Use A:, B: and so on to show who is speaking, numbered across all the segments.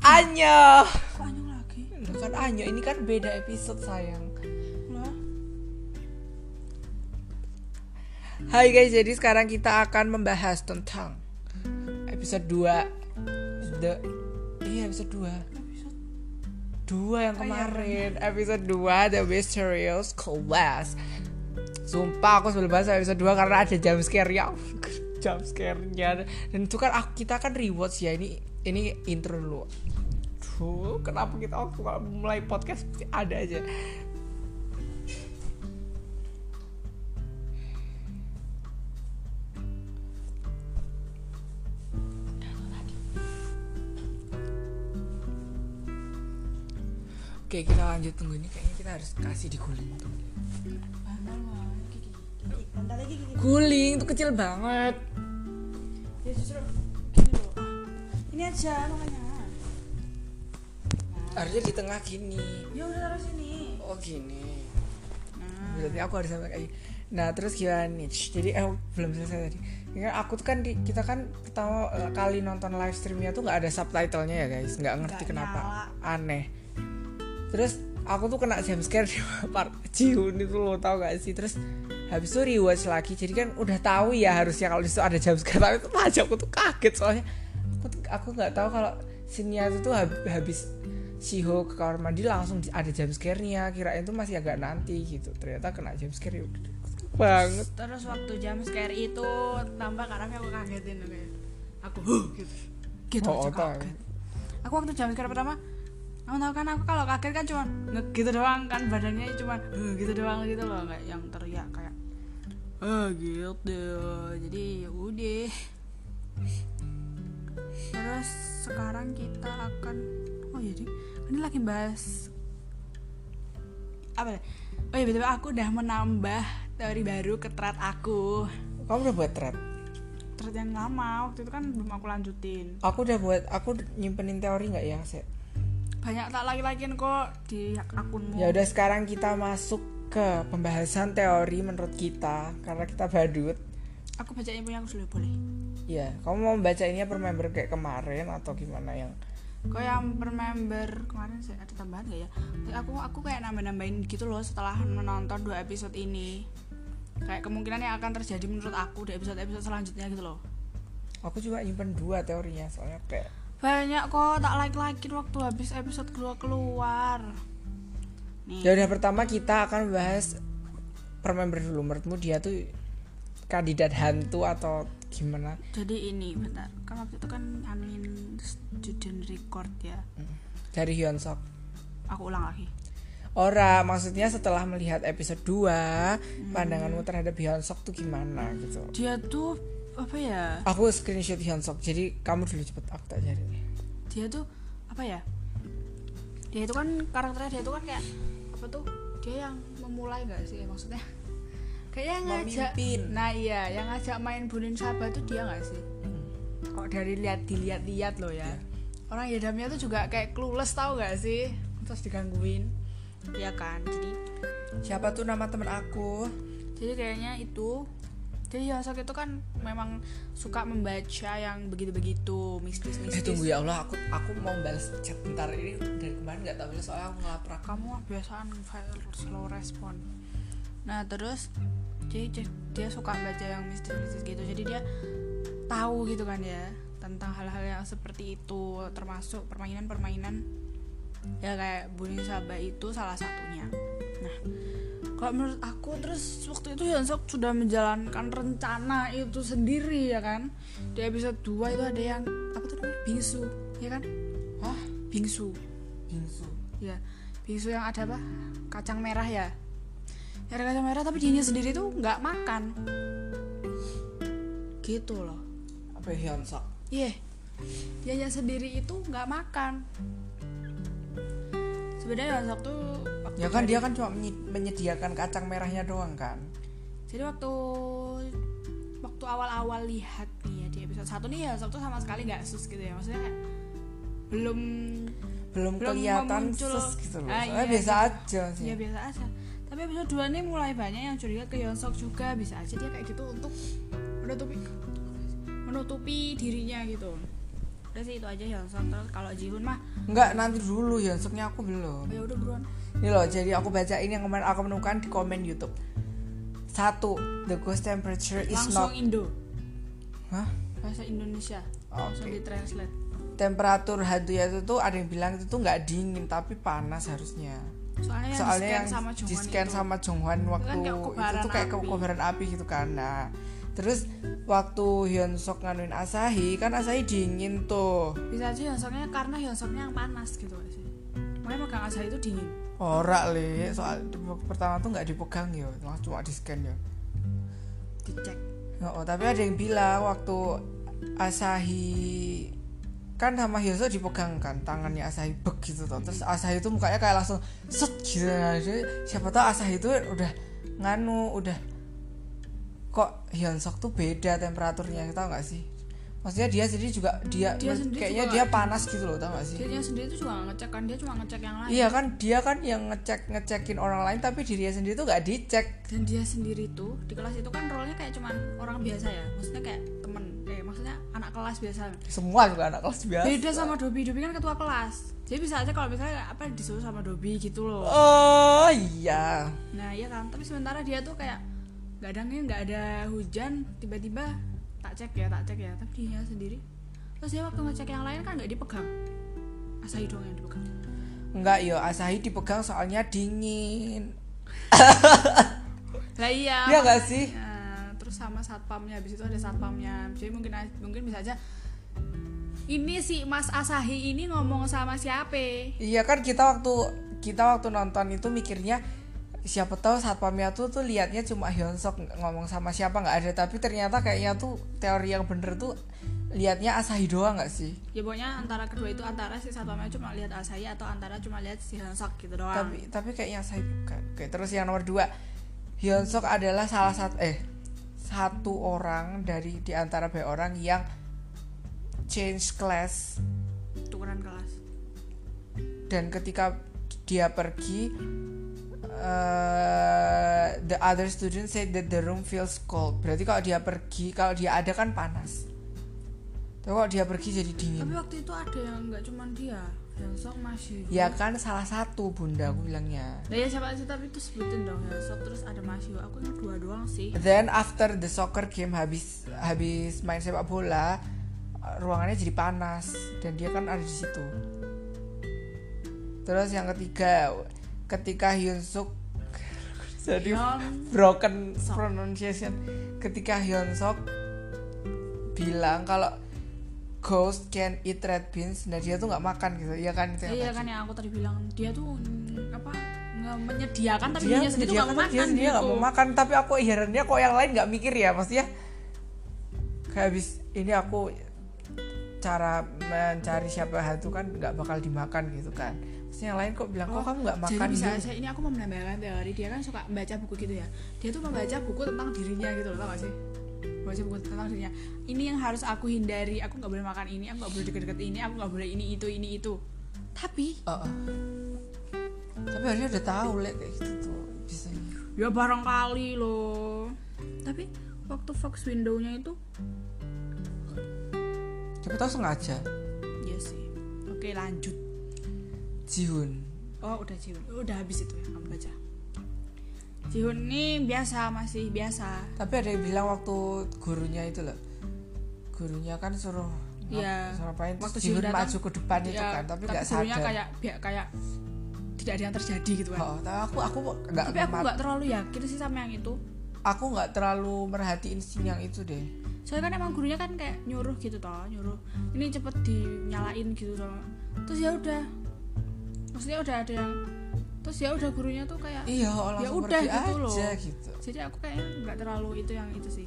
A: Anyo
B: Anjing lagi.
A: bukan Anyo ini kan beda episode sayang
B: Lah,
A: Hai guys jadi sekarang kita akan membahas tentang episode 2 the iya episode 2
B: episode
A: dua yang kemarin episode 2 The Mysterious Class Sumpah aku sebelum bahas episode 2 karena ada jump scare yang jump scare-nya dan itu kan aku- kita kan rewards ya ini ini intro dulu. Duh, kenapa kita oh, kalau mulai podcast pasti ada aja. Oke, kita lanjut tunggu ini kayaknya kita harus kasih diguling.
B: bandel wae gigi. Gigi, bandel lagi gigi.
A: Guling itu kecil banget.
B: Ya justru gini loh. Ah, Ini aja makanya.
A: Harusnya di tengah gini.
B: Ya udah taruh sini.
A: Oh, gini.
B: Nah,
A: berarti aku harus sampai kayak nah terus gimana nih Shh, jadi eh belum selesai tadi ini kan aku tuh kan di, kita kan pertama eh, kali nonton live streamnya tuh nggak ada subtitlenya ya guys nggak ngerti
B: Nggak
A: kenapa aneh terus aku tuh kena jump scare di part Jihoon itu lo tau gak sih terus habis itu rewatch lagi jadi kan udah tahu ya harusnya kalau disitu ada jump scare tapi tetap aja aku tuh kaget soalnya aku tuh- aku nggak tahu kalau scene-nya itu tuh hab- habis Shiho ke kamar mandi langsung ada jump scare-nya kirain tuh masih agak nanti gitu ternyata kena jump scare ya udah, banget
B: terus waktu jam scare itu tambah karena aku kagetin loh kayak. Aku huh gitu. Gitu
A: Oh,
B: aja
A: oh, tau.
B: kaget. Aku waktu jam scare pertama kamu tahu kan aku kalau kaget kan cuman nge gitu doang kan badannya cuman "Huh," gitu doang gitu loh nggak yang teriak kayak eh gitu jadi ya udah terus sekarang kita akan oh jadi ini lagi bahas apa ya? oh iya betul aku udah menambah teori baru ke thread aku
A: kamu udah buat thread
B: thread yang lama waktu itu kan belum aku lanjutin
A: aku udah buat aku nyimpenin teori nggak ya set
B: banyak tak laki-lakiin kok di akunmu
A: Ya udah sekarang kita masuk ke pembahasan teori menurut kita karena kita badut.
B: aku bacain punya aku dulu boleh
A: Ya, kamu mau baca ini per member kayak kemarin atau gimana yang
B: kok yang per member kemarin saya ada tambahan gak ya Tapi aku aku kayak nambah-nambahin gitu loh setelah menonton dua episode ini kayak kemungkinan yang akan terjadi menurut aku di episode-episode selanjutnya gitu loh
A: aku juga nyimpen dua teorinya soalnya kayak
B: banyak kok tak like-likein waktu habis episode keluar keluar nih
A: Ya udah pertama kita akan bahas per member dulu menurutmu dia tuh kandidat hantu atau gimana?
B: jadi ini bentar kan waktu itu kan anuin student record ya
A: Hmm. Dari Hyun Sok.
B: aku ulang lagi
A: Ora, maksudnya setelah melihat episode 2, pandanganmu terhadap Hyun Sok tuh gimana gitu.
B: dia tuh apa ya
A: Aku screenshot Hyun Sok. Jadi kamu dulu cepet aku tak cari.
B: dia tuh apa ya dia itu kan karakternya dia itu kan kayak apa tuh dia yang memulai nggak sih maksudnya kayak yang ngajak
A: Memimpin.
B: nah iya yang ngajak main Bunin Sabah tuh dia nggak sih kok dari lihat dilihat-lihat loh ya
A: Iya.
B: orang Yadamnya tuh juga kayak clueless tau nggak sih terus digangguin ya kan jadi
A: Siapa tuh nama temen aku?
B: jadi kayaknya itu jadi Yosok itu kan memang suka membaca yang begitu-begitu
A: Eh
B: mistis-mistis
A: tunggu ya Allah, aku aku mau balas chat bentar ini dari kemarin nggak tahu balas soalnya aku ngelaprak.
B: kamu kebiasaan file slow respon nah terus jadi dia- dia suka baca yang mistis-mistis gitu jadi dia tahu gitu kan ya tentang hal-hal yang seperti itu termasuk permainan-permainan ya kayak Bunin Saba itu salah satunya nah kalau menurut aku terus waktu itu Hyunsuk sudah menjalankan rencana itu sendiri ya kan di episode 2 itu ada yang apa tuh namanya bingsu ya kan
A: Hah?
B: bingsu
A: Bingsu.
B: ya bingsu yang ada apa kacang merah ya yang ada kacang merah tapi dianya sendiri tuh nggak makan gitu loh
A: Apa ya, Hyun Sok?
B: iya dianya sendiri itu nggak makan sebenarnya Yonsok tuh waktu
A: Ya kan
B: jadi-
A: dia kan cuma menyi- menyediakan kacang merahnya doang kan.
B: jadi waktu waktu awal-awal lihat nih ya di episode satu nih ya Yonsok tuh sama sekali nggak sus gitu ya maksudnya kayak belum
A: Belum,
B: Belum
A: kelihatan
B: memuncul.
A: sus gitu loh.
B: Ah,
A: Soalnya
B: iya,
A: biasa
B: iya.
A: aja sih.
B: ya biasa aja tapi episode 2 ini mulai banyak yang curiga ke Yonsok juga bisa aja dia kayak gitu untuk menutupi menutupi dirinya gitu udah sih itu aja Hyunsuk terus kalau Jihoon mah
A: Enggak, nanti dulu Hyunsuknya aku belum.
B: ya udah buruan
A: Ini loh, jadi aku baca ini yang kemarin aku menemukan di komen YouTube. Satu, the ghost temperature is
B: langsung
A: not.
B: Indo
A: Hah?
B: bahasa Indonesia
A: Ah, Oke.
B: langsung di translate
A: Temperatur hantunya itu tuh ada yang bilang itu tuh nggak dingin tapi panas harusnya.
B: soalnya yang
A: Soalnya
B: di scan
A: yang
B: sama
A: di
B: Jongwon
A: scan
B: itu kan
A: sama Jonghwan waktu
B: kayak
A: itu
B: kobaran
A: tuh kayak ke-
B: api.
A: kobaran api gitu kan. Nah, terus waktu Hyunsuk nganuin Asahi kan Asahi dingin tuh.
B: bisa aja Hyunsuknya karena Hyunsuknya yang panas gitu gak sih makanya megang Asahi itu dingin
A: Ora le, soal pertama tuh nggak dipegang ya, langsung cuma di scan ya.
B: dicek
A: Oh, tapi ada yang bilang waktu Asahi kan sama Hyoso dipegang kan tangannya Asahi bek gitu toh. Terus Asahi itu mukanya kayak langsung set gitu. Nah, jadi siapa tahu Asahi itu udah nganu, udah kok Hyunsok tuh beda temperaturnya, tau gak sih? Maksudnya dia sendiri juga dia,
B: Dia sendiri
A: kayaknya
B: juga-
A: dia panas gitu loh, tau gak sih?
B: dia dia sendiri tuh juga gak ngecek kan dia cuma ngecek yang lain
A: Iya kan dia kan yang ngecek ngecekin orang lain tapi dirinya sendiri tuh gak dicek.
B: dan dia sendiri tuh di kelas itu kan role-nya kayak cuman orang biasa ya maksudnya kayak temen eh maksudnya anak kelas biasa
A: Semua juga anak kelas biasa.
B: beda sama Dobi Dobi kan ketua kelas jadi bisa aja kalau misalnya apa disuruh sama Dobi gitu loh
A: Oh iya.
B: nah iya kan tapi sementara dia tuh kayak nggak ada angin, nggak ada hujan tiba-tiba tak cek ya tak cek ya tapi dia sendiri terus dia waktu ngecek yang lain kan nggak dipegang Asahi doang yang dipegang
A: Enggak yo, Asahi dipegang soalnya dingin.
B: lah iya
A: Iya nggak
B: makanya.
A: sih?
B: eh, terus sama satpamnya habis itu ada satpamnya jadi mungkin mungkin bisa aja ini si Mas Asahi ini ngomong sama siapa
A: Iya kan kita waktu kita waktu nonton itu mikirnya siapa tahu satpamnya tuh tuh liatnya cuma Hyunsok ngomong sama siapa nggak ada tapi ternyata kayaknya tuh teori yang bener tuh liatnya Asahi doang nggak sih?
B: ya pokoknya antara kedua itu antara si satpamnya cuma lihat Asahi atau antara cuma lihat si Hansak gitu doang
A: Tapi tapi kayaknya Asahi bukan. Oke terus yang nomor dua Hyunsok adalah salah satu eh satu orang dari di antara banyak orang yang change class
B: tukeran kelas
A: dan ketika dia pergi eh, the other student said that the room feels cold berarti kalau dia pergi kalau dia ada kan panas tapi kalau dia pergi jadi dingin
B: tapi waktu itu ada yang nggak cuma dia Hansak masih
A: ya kan salah satu bunda aku bilangnya
B: Nah ya siapa sih tapi itu sebutin dong Hansak terus ada Masio aku ini dua doang sih
A: then after the soccer game habis habis main sepak bola ruangannya jadi panas dan dia kan ada di situ terus yang ketiga ketika Hyunsuk jadi
B: Hyun
A: broken
B: Sok.
A: pronunciation ketika Hyunsok bilang kalau ghost can eat red beans nah dia tuh nggak makan gitu iya kan itu yang
B: iya
A: tadi.
B: kan yang aku tadi bilang dia tuh mm, apa nggak menyediakan tapi
A: dia
B: dia, sendiri tuh nggak
A: menyediakan,
B: makan
A: dia sendiri nggak
B: gitu.
A: mau makan tapi aku herannya kok yang lain nggak mikir ya maksudnya kayak habis ini aku cara mencari siapa hantu kan nggak bakal dimakan gitu kan terus yang lain kok bilang kok
B: Oh,
A: kamu nggak makan
B: Jadi bisa
A: Yun?"
B: aja, ini aku mau menambahkan teori dia kan suka baca buku gitu ya. Dia tuh membaca buku tentang dirinya gitu loh, tau gak sih? Baca buku tentang dirinya. Ini yang harus aku hindari. Aku nggak boleh makan ini. Aku nggak boleh deket-deket ini. Aku nggak boleh ini itu ini itu. Tapi
A: Heeh. tapi harusnya udah tahu lek kayak gitu tuh biasanya
B: ya barangkali loh. Tapi waktu Fox Window-nya itu,
A: siapa tahu sengaja
B: ya sih. Oke lanjut.
A: Jihoon
B: Oh udah Jihoon, udah habis itu yang kamu baca. Jihoon ini biasa masih biasa.
A: tapi ada yang bilang waktu gurunya itu loh gurunya kan suruh ngap-
B: Iya.
A: suruh apain terus
B: Waktu
A: Jihoon
B: Jihoon datang,
A: maju ke depan itu
B: Ya,
A: kan tapi nggak
B: gurunya
A: sadar
B: kayak biar kayak tidak ada yang terjadi gitu kan.
A: Oh, tapi aku aku nggak
B: Tapi aku
A: mat-
B: nggak terlalu yakin sih sama yang itu.
A: aku nggak terlalu merhatiin scene yang itu deh
B: Soalnya kan emang gurunya kan kayak nyuruh gitu toh, nyuruh ini cepet dinyalain gitu toh. Terus ya udah. Maksudnya udah ada yang terus ya udah gurunya tuh kayak
A: iya langsung
B: udah
A: pergi
B: gitu loh.
A: aja gitu
B: jadi aku kayaknya nggak terlalu itu yang itu sih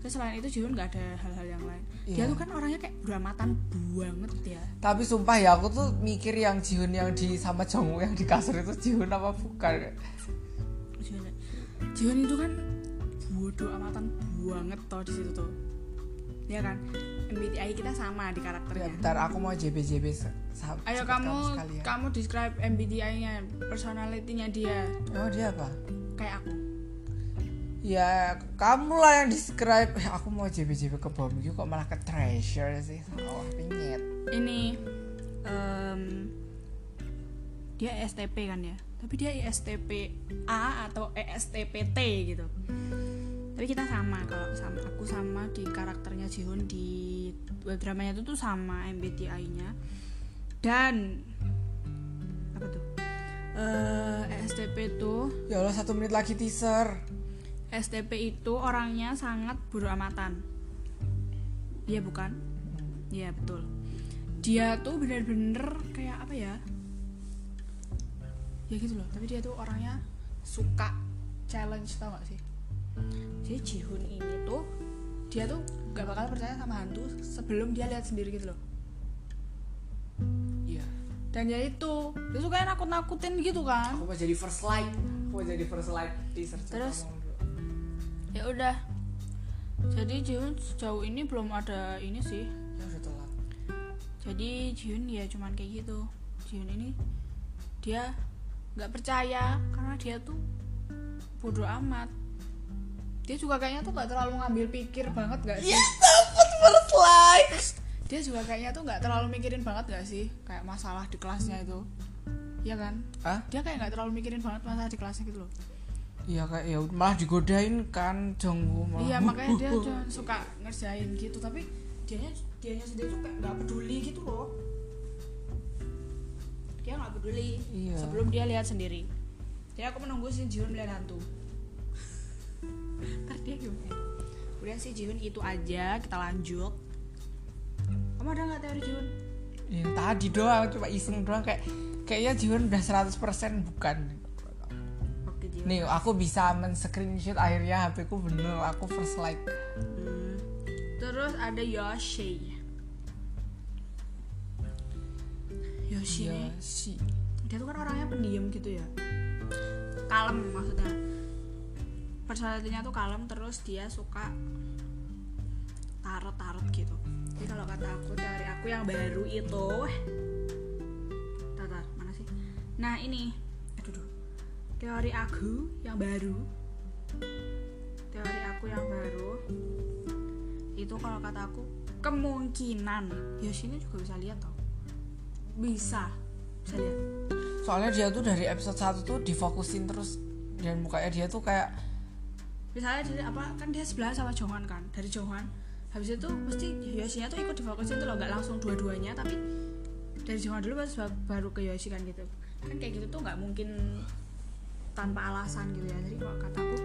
B: terus selain itu Jihoon nggak ada hal-hal yang lain dia
A: Iya.
B: tuh kan orangnya kayak beramatan banget ya
A: tapi sumpah ya aku tuh mikir yang Jihoon yang di sama Jongwoo yang di kasur itu Jihoon apa bukan
B: Jihan Jihan itu kan bodoh amatan banget toh di situ tuh ya kan MBTI kita sama di
A: ya,
B: karakternya
A: bentar aku mau JB JB sama
B: ayo kamu
A: ya.
B: kamu describe MBTI-nya personality-nya dia
A: oh dia apa
B: kayak aku
A: ya kamu lah yang describe eh, aku mau JB-JB ke bom iki kok malah ke treasure sih Oh, Allah pingit
B: ini em, dia STP kan ya tapi dia ISTP A atau E ESTPT gitu tapi kita sama kalau sama aku sama di karakternya Jihoon di web dramanya itu tuh sama MBTI-nya dan apa tuh Eh, ESTP tuh
A: ya Allah satu menit lagi teaser
B: E STP itu orangnya sangat bodoh amatan. Iya bukan? Iya betul. Dia tuh bener-bener kayak apa ya? Ya gitu loh. Tapi dia tuh orangnya suka challenge tau gak sih? Jadi Jihun ini tuh dia tuh gak bakal percaya sama hantu sebelum dia lihat sendiri gitu loh.
A: iya
B: Dan ya itu, dia suka nakut-nakutin gitu kan.
A: aku mau jadi first light aku mau jadi first light teaser Coba
B: Terus?
A: ngomong dulu.
B: Ya udah. Jadi Jihun sejauh ini belum ada ini sih,
A: ya udah telat
B: jadi Jiun ya cuman kayak gitu Jiun ini dia nggak percaya karena dia tuh bodoh amat dia juga kayaknya tuh nggak terlalu ngambil pikir banget gak sih
A: dapat first light
B: dia juga kayaknya tuh nggak terlalu mikirin banget gak sih kayak masalah di kelasnya itu Iya kan
A: ah
B: dia kayak nggak terlalu mikirin banget masalah di kelasnya gitu loh
A: iya kayak ya malah digodain kan Jongwoo malah
B: iya makanya dia cuma suka ngerjain gitu tapi dianya dianya sendiri tuh kayak nggak peduli gitu loh dia nggak peduli
A: Iya.
B: sebelum dia lihat sendiri jadi aku menunggu si Jihoon melihat hantu ntar dia gimana kemudian si Jihoon itu aja kita lanjut kamu ada nggak teori Jihoon
A: yang tadi doang cuma iseng doang kayak kayaknya Jiwon udah 100% bukan
B: oke Jihoon
A: nih aku bisa men screenshot akhirnya HP ku bener aku first light
B: Hmm. terus ada Yoshi Yoshi
A: ya
B: ini
A: sih
B: dia tuh kan orangnya pendiam gitu ya kalem maksudnya personalitinya tuh kalem terus dia suka tarot tarot gitu jadi kalau kata aku teori aku yang baru itu tatar mana sih nah ini aduh duh. teori aku yang baru teori aku yang baru itu kalau kata aku kemungkinan Yoshino juga bisa lihat tau bisa bisa lihat
A: soalnya dia tuh dari episode 1 tuh difokusin terus dan mukanya dia tuh kayak
B: misalnya dari apa kan dia sebelah sama Johan kan dari Johan habis itu mesti Yoshinya tuh ikut difokusin tuh loh nggak langsung dua-duanya tapi dari Johan dulu baru, baru ke Yoshi kan gitu kan kayak gitu tuh nggak mungkin tanpa alasan gitu ya jadi kalau kata aku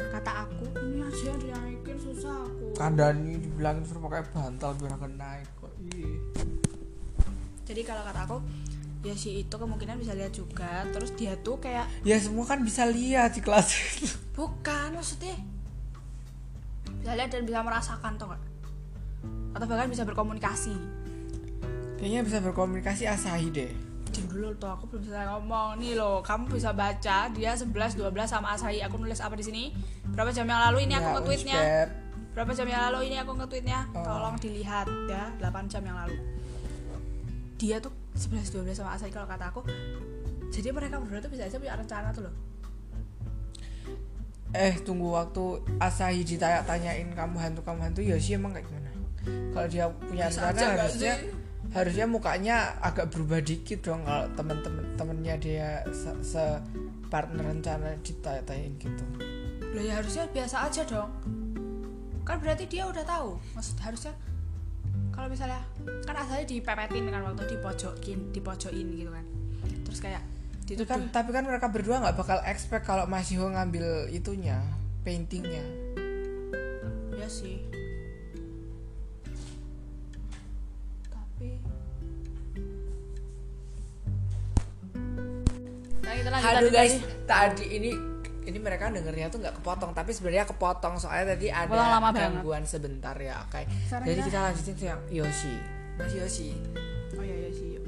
B: kata aku ini aja yang dinaikin susah aku
A: kandani dibilangin suruh pakai bantal biar gak naik kok Iya. Ih.
B: jadi kalau kata aku Yoshi itu kemungkinan bisa lihat juga terus dia tuh kayak
A: ya semua kan bisa lihat di kelas itu
B: Bukan maksudnya bisa lihat dan bisa merasakan toh nggak? Atau bahkan bisa berkomunikasi.
A: kayaknya bisa berkomunikasi asahi deh
B: Diam dulu tuh aku belum selesai ngomong nih loh. Kamu bisa baca dia 11, 12 sama Asahi. Aku nulis apa di sini? Berapa jam yang lalu ini aku
A: Ya,
B: nge-tweetnya?
A: Unspep.
B: Berapa jam yang lalu ini aku nge-tweetnya?
A: Oh.
B: Tolong dilihat ya 8 jam yang lalu. Dia tuh 11, 12 sama Asahi kalau kata aku. Jadi mereka berdua tuh bisa aja punya rencana tuh loh.
A: eh tunggu waktu Asahi ditanya-tanyain kamu hantu kamu hantu Yoshi emang kayak gimana kalau dia punya
B: Bisa aja
A: rencana
B: nggak
A: harusnya
B: sih?
A: harusnya mukanya agak berubah dikit dong kalau temen-temen temennya dia se, se- partner rencana ditanya-tanyain gitu
B: Loh ya harusnya biasa aja dong. Kan berarti dia udah tahu. Maksud harusnya kalau misalnya kan asalnya dipepetin kan waktu dipojokin, dipojokin gitu kan. Terus kayak
A: itu
B: itu
A: kan tapi kan mereka berdua nggak bakal expect kalau Mas Yoho ngambil itunya paintingnya
B: ya sih. Tapi Nah, kita lanjut
A: Aduh
B: lanjut
A: guys,
B: lagi.
A: tadi ini ini mereka dengernya tuh nggak kepotong, tapi sebenarnya kepotong soalnya tadi ada
B: Potong lama banget.
A: gangguan sebentar ya, oke.
B: Sekarang
A: Jadi
B: kita-
A: kita lanjutin ke yang Yoshi, Mas Yoshi,
B: Oh iya iya sih. yuk.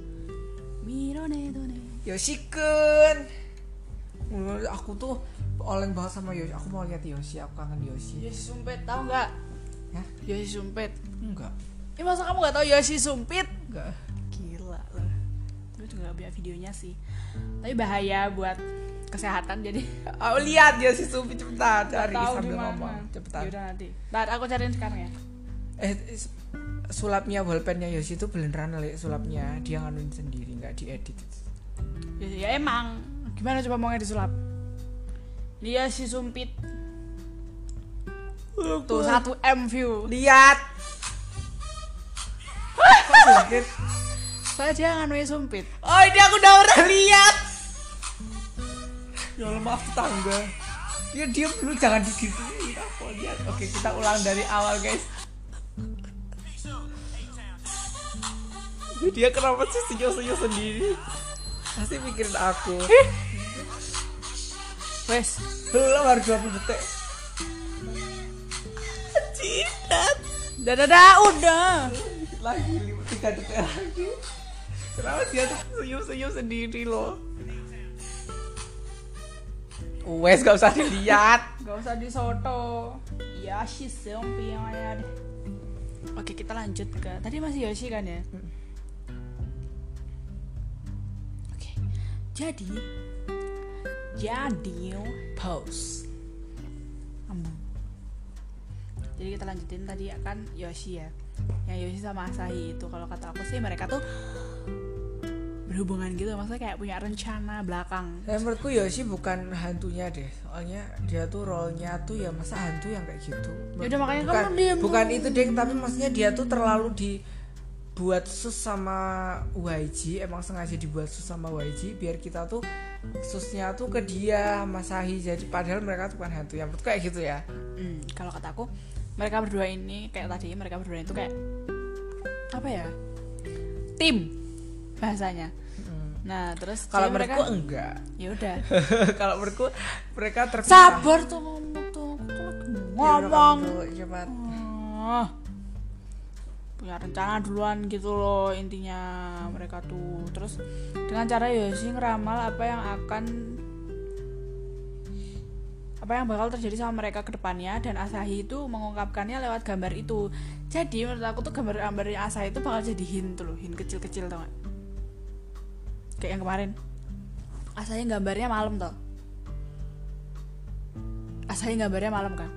B: Mirone done.
A: Yoshi kun. Menurut aku tuh oleng banget sama Yoshi. Aku mau lihat Yoshi, aku kangen Yoshi.
B: Yoshi Sumpit tahu nggak?
A: Hah?
B: Yoshi Sumpit.
A: Enggak,
B: Ini masa kamu nggak tahu Yoshi Sumpit?
A: enggak.
B: Gila loh. Tapi juga nggak punya videonya sih. Tapi bahaya buat kesehatan jadi
A: Oh, lihat ya si Supi cepetan cari
B: tahu di
A: sambil ngomong
B: mana
A: cepetan.
B: Yaudah, nanti Ntar aku cariin sekarang ya
A: Eh s- sulapnya wallpennya Yosi itu beneran lek sulapnya dia nganuin sendiri nggak diedit.
B: ya, ya emang gimana coba mau disulap dia si sumpit tuh 1 m view
A: Lihat. Kok sedikit?
B: soalnya dia nganuin sumpit
A: Oh ini aku udah pernah lihat. Ya Allah maaf tetangga. Ya dia dulu jangan digituin. Apa lihat? Oke kita ulang dari awal guys. Ini Dia kenapa sih senyum-senyum sendiri? Pasti mikirin aku.
B: wes
A: Belum harus 20 detik. Cinta.
B: dah dah dah udah
A: lagi lima tiga detik lagi kenapa dia tuh senyum senyum sendiri loh wes gak usah dilihat
B: gak usah disoto ya si sumpit ya deh oke kita lanjut ke tadi masih Yoshi kan ya oke jadi jadi
A: pause
B: Ambang. Jadi kita lanjutin tadi akan Yoshi ya. Yang Yoshi sama Asahi itu kalau kata aku sih mereka tuh berhubungan gitu, maksudnya kayak punya rencana belakang.
A: dan Eh, menurutku Yoshi bukan hantunya deh soalnya dia tuh role-nya tuh ya masa hantu yang kayak gitu
B: Yaudah, Ya makanya
A: bukan,
B: kamu diem
A: bukan
B: dulu.
A: itu deh tapi maksudnya dia tuh terlalu dibuat sus sama YG emang sengaja dibuat sus sama YG biar kita tuh susnya tuh ke dia Masahi jadi padahal mereka tuh bukan hantu yang menurutku kayak gitu ya
B: Hmm, kalau kata aku mereka berdua ini kayak tadi mereka berdua itu kayak apa ya? Tim bahasanya. Nah terus
A: Hmm. kalau
B: jadi mereka
A: menurutku enggak
B: ya udah
A: kalau menurutku mereka terpisah
B: sabar tuh ngomong tuh aku tuh lagi
A: Ya udah,
B: ngomong.
A: kamu dulu, cepat
B: Ah, punya rencana duluan gitu loh intinya mereka tuh terus dengan cara Yoshi ngeramal apa yang akan apa yang bakal terjadi sama mereka ke depannya dan Asahi itu mengungkapkannya lewat gambar itu jadi menurut aku tuh gambar-gambarnya Asahi itu bakal jadi hint tuh loh hint kecil-kecil tau gak kayak yang kemarin Asahi gambarnya malam toh Asahi gambarnya malam kan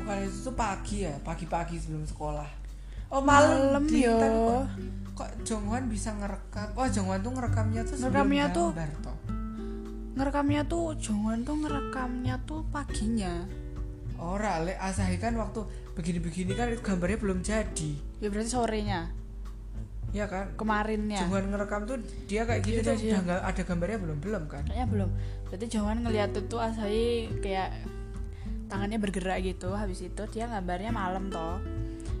A: bukan itu tuh pagi ya pagi-pagi sebelum sekolah oh malam
B: Malam,
A: Di- oh.
B: yo.
A: tapi kok, kok Jonghwan bisa ngerekam oh Jonghwan tuh ngerekamnya tuh sebelum
B: Ngerekamnya tuh.
A: gambar toh
B: ngerekamnya tuh Jongon tuh ngerekamnya tuh paginya
A: ora le Asahi kan waktu begini-begini kan itu gambarnya belum jadi
B: ya berarti sorenya
A: ya kan
B: kemarinnya
A: Jonghwan ngerekam tuh dia kayak gitu
B: Iya,
A: tuh
B: iya.
A: udah nggak ada gambarnya belum belum kan
B: kayaknya belum berarti Jongon ngeliat tuh tuh Asahi kayak tangannya bergerak gitu habis itu dia gambarnya malam toh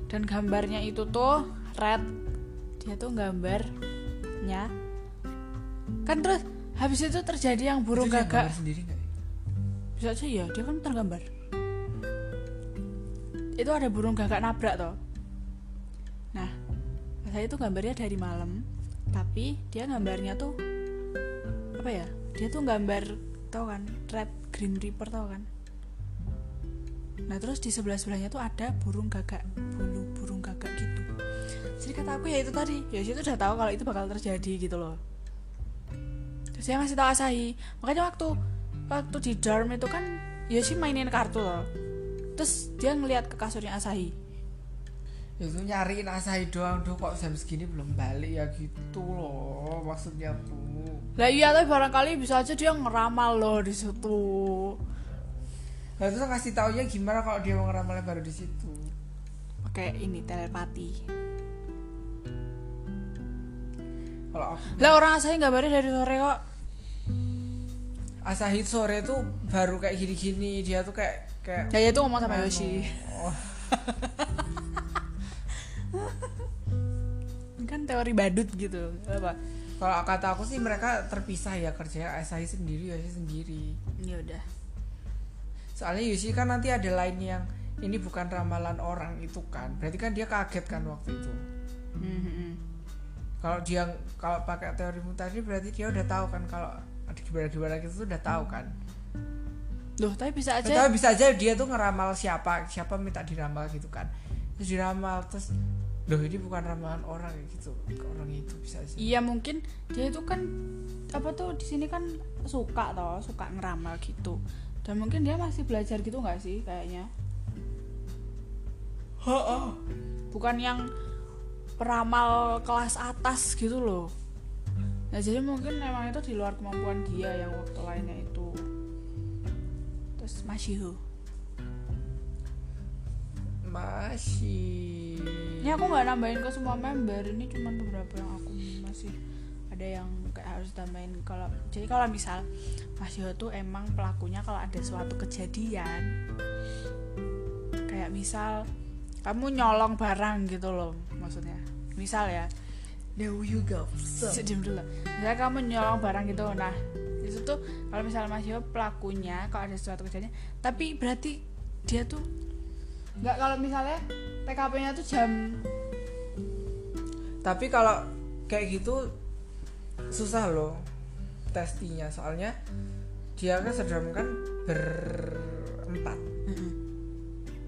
B: dan gambarnya itu tuh red dia tuh gambarnya kan terus habis itu terjadi yang burung
A: Itu dia gambar
B: gagak
A: sendiri nggak ya?
B: bisa aja ya dia kan tergambar itu ada burung gagak nabrak toh nah saya itu gambarnya dari malam tapi dia gambarnya tuh apa ya dia tuh gambar tau kan red green reaper tau kan nah terus di sebelah sebelahnya tuh ada burung gagak bulu burung gagak gitu jadi kata aku ya itu tadi ya itu udah tahu kalau itu bakal terjadi gitu loh terus dia ngasih tahu Asahi makanya waktu waktu di dorm itu kan Yoshi mainin kartu loh terus dia ngelihat ke kasurnya Asahi
A: ya? itu nyariin Asahi doang tuh kok jam segini belum balik ya gitu loh maksudnya tuh
B: lah iya tapi barangkali bisa aja dia ngeramal loh di situ
A: Nah, terus ngasih taunya gimana kalau dia mau ngeramalnya baru di situ.
B: pakai ini telepati
A: Kalau aku
B: lah orang Asahi gambarnya dari sore kok
A: Asahi sore tuh baru kayak gini-gini, dia tuh kayak kayak
B: ya itu ngomong sama Yoshi
A: Oh,
B: kan teori badut gitu apa
A: Kalau kata aku sih mereka terpisah ya kerjanya Asahi sendiri, Yoshi sendiri.
B: ini udah
A: Soalnya Yoshi kan nanti ada lain yang ini bukan ramalan orang itu kan. Berarti kan dia kaget kan waktu itu.
B: Mhm.
A: Kalau dia kalau pakai teori mutasi berarti dia udah tahu kan kalau ada gimana-gimana gitu tuh udah tahu kan.
B: loh tapi bisa aja
A: Ya, Tapi bisa aja dia tuh ngeramal siapa, siapa minta diramal gitu kan. Terus diramal terus loh ini bukan ramalan orang ya gitu orang itu bisa sih
B: Iya mungkin dia itu kan apa tuh di sini kan suka toh suka ngeramal gitu dan mungkin dia masih belajar gitu nggak sih kayaknya bukan yang peramal kelas atas gitu loh nah jadi mungkin memang itu di luar kemampuan dia yang waktu lainnya itu terus masih
A: masih
B: ini aku nggak nambahin ke semua member ini cuman beberapa yang aku masih ada yang kayak harus tambahin kalau jadi kalau misal Mas Yoyo tuh emang pelakunya kalau ada suatu kejadian kayak misal kamu nyolong barang gitu loh maksudnya misal ya
A: now you go
B: Shh, diam dulu misalnya kamu nyolong barang gitu nah itu tuh kalau misalnya Mas Yoyo pelakunya kalau ada suatu kejadian tapi berarti dia tuh nggak kalau misalnya TKP-nya tuh jam
A: tapi kalau kayak gitu susah loh testinya soalnya dia kan sedang kan berempat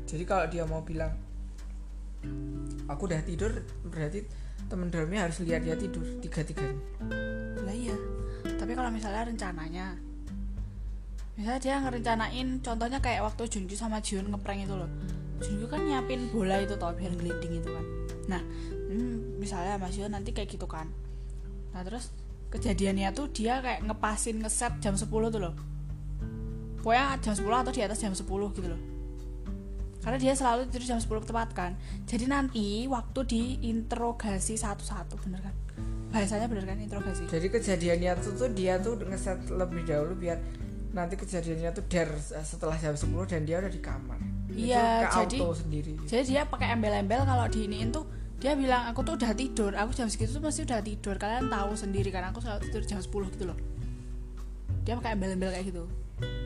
A: jadi kalau dia mau bilang aku udah tidur berarti temen dalamnya harus lihat dia tidur tiga tiganya
B: Lah iya. Tapi kalau misalnya rencananya Misalnya dia ngerencanain contohnya kayak waktu Junju sama Jiun ngeprank itu loh. Junju kan nyiapin bola itu toh biar gliding itu kan. Nah, hmm, misalnya Mas Jiun nanti kayak gitu kan. Nah, terus kejadiannya tuh dia kayak ngepasin ngeset jam 10 tuh loh. Pokoknya jam 10 atau di atas jam 10 gitu loh. Karena dia selalu tidur jam 10 tepat kan. Jadi nanti waktu diinterogasi satu-satu bener kan? Bahasanya bener kan interogasi?
A: jadi kejadiannya tuh tuh dia tuh ngeset lebih dahulu biar nanti kejadiannya tuh der setelah jam 10 dan dia udah di kamar Itu
B: Iya,
A: ke
B: jadi-
A: auto sendiri
B: jadi dia pakai embel-embel kalau diiniin tuh dia bilang aku tuh udah tidur aku jam segitu tuh pasti udah tidur kalian tahu sendiri kan aku selalu tidur jam 10 gitu loh dia pakai embel-embel kayak gitu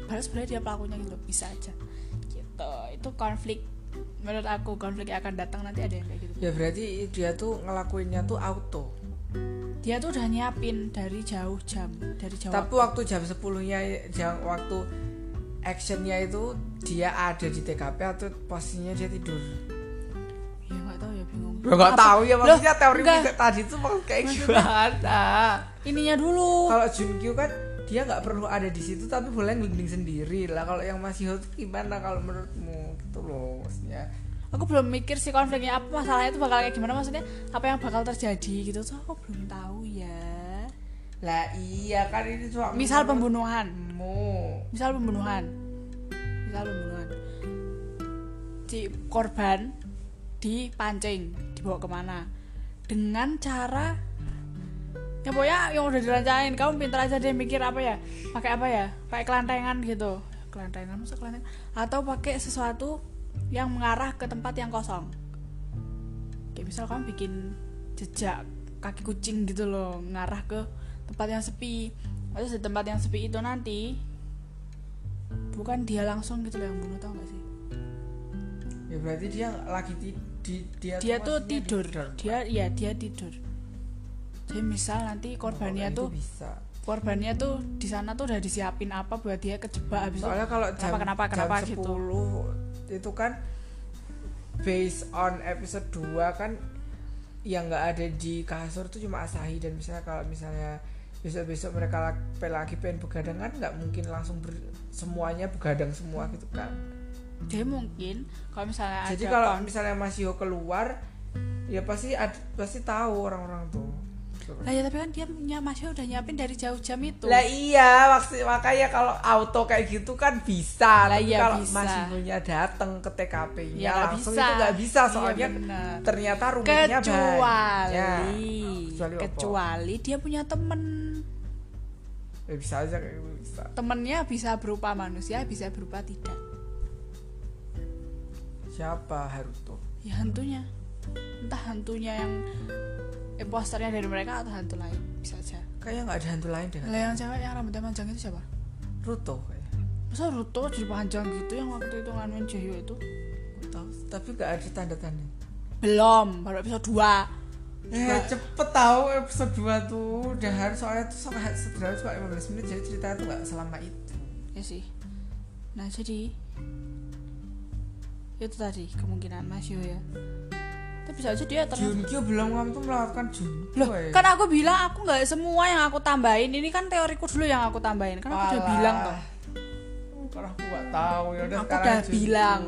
B: padahal sebenarnya dia pelakunya gitu loh. bisa aja gitu itu konflik menurut aku konflik yang akan datang nanti ada yang kayak gitu
A: ya berarti dia tuh ngelakuinnya tuh auto
B: dia tuh udah nyiapin dari jauh jam dari jauh
A: tapi waktu jam 10 nya jam waktu actionnya itu dia ada di TKP atau posisinya dia tidur
B: ya nggak tahu ya bingung
A: Gue nggak
B: Apa-
A: tahu ya
B: Loh,
A: maksudnya teori
B: enggak.
A: kita tadi tuh maksud kayak gimana
B: ininya dulu
A: kalau Junkyu kan dia nggak perlu ada di situ tapi boleh ngelinding sendiri lah kalau yang masih hot gimana kalau menurutmu gitu loh maksudnya
B: aku belum mikir sih konfliknya apa masalahnya itu bakal kayak gimana maksudnya apa yang bakal terjadi gitu tuh aku belum tahu ya
A: lah iya kan ini cuma
B: misal pembunuhan
A: menurutmu
B: misal pembunuhan misal pembunuhan si korban dipancing dibawa kemana dengan cara ya pokoknya yang udah direncanain kamu pintar aja deh mikir apa ya pakai apa ya pakai kelantengan gitu kelantengan masa kelantengan atau pakai sesuatu yang mengarah ke tempat yang kosong kayak misal kamu bikin jejak kaki kucing gitu loh ngarah ke tempat yang sepi terus di tempat yang sepi itu nanti bukan dia langsung gitu loh yang bunuh tau gak sih
A: ya berarti dia lagi ti- di, dia,
B: dia
A: maksudnya
B: tuh
A: di
B: tidur
A: dalam
B: dia ya dia tidur jadi misal nanti
A: kamar.
B: korbannya
A: Oh, Itu
B: tuh
A: bisa
B: korbannya tuh di sana tuh udah disiapin apa buat dia kejebak habis itu
A: soalnya kalau jam
B: kenapa,
A: jam
B: kenapa
A: 10
B: gitu.
A: itu kan based on episode 2 kan yang nggak ada di kasur tuh cuma Asahi dan misalnya kalau misalnya besok-besok mereka lagi, lagi pengen begadang kan nggak mungkin langsung ber- semuanya begadang semua gitu kan
B: jadi mungkin kalau misalnya
A: jadi
B: ada
A: kalau
B: kon-
A: misalnya Mas Yo keluar ya pasti ad- pasti tahu orang-orang tuh
B: lah ya tapi kan dia punya masih udah nyiapin dari jauh jam itu
A: lah iya maksud- makanya kalau auto kayak gitu kan bisa
B: Lah
A: tapi
B: iya,
A: kalau
B: bisa.
A: Mas Yonya datang ke TKP-nya
B: Ya, nggak
A: langsung
B: bisa.
A: itu nggak bisa
B: Iya,
A: soalnya
B: benar.
A: ternyata rumahnya Ya,
B: kecuali
A: Kecuali apa?
B: kecuali dia punya temen
A: ya, bisa aja kayak gitu bisa
B: temennya bisa berupa manusia bisa berupa tidak
A: siapa Haruto
B: ya hantunya entah hantunya yang imposternya dari mereka atau hantu lain bisa aja
A: kayaknya nggak ada hantu lain deh
B: lah yang cewek yang rambutnya panjang itu siapa
A: Ruto kayaknya
B: masa Ruto jadi panjang gitu yang waktu itu nganuin Jahyo itu
A: Nggak tahu, tapi nggak ada tanda-tanda
B: belum baru episode 2
A: Eh, cepet tahu episode 2 tuh udah harus soalnya tuh sangat sederhana cuma 15 menit jadi ceritanya tuh nggak selama itu
B: ya sih nah jadi itu tadi kemungkinan Mas Yo ya tapi bisa aja dia ternyata
A: Junkyu belum kamu tuh melakukan Junkyu
B: Loh,
A: eh.
B: kan aku bilang aku nggak semua yang aku tambahin ini kan teoriku dulu yang aku tambahin kan aku udah
A: Alah.
B: bilang toh
A: Karena Kan aku gak tahu ya udah
B: Aku
A: sekarang
B: udah
A: Junkyu.
B: bilang.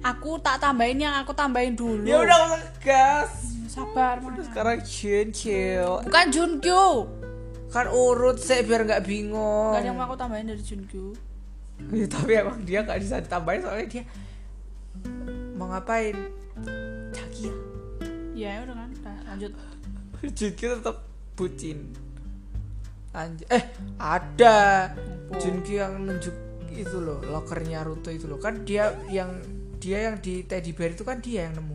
B: aku tak tambahin yang aku tambahin dulu
A: Ya udah aku gas.
B: sabar
A: Udah
B: Mona.
A: sekarang Junkyu.
B: bukan Junkyu
A: Kan urut sih biar nggak bingung.
B: nggak ada yang mau aku tambahin dari Junkyu
A: Ya, tapi emang dia gak bisa ditambahin soalnya dia mau ngapain? Cakia.
B: ya udah kan udah lanjut
A: Junkyu tetap bucin. Anj eh ada
B: Apa?
A: Junkyu yang nunjuk itu loh lokernya Ruto itu loh kan dia yang dia yang di teddy bear itu kan dia yang nemu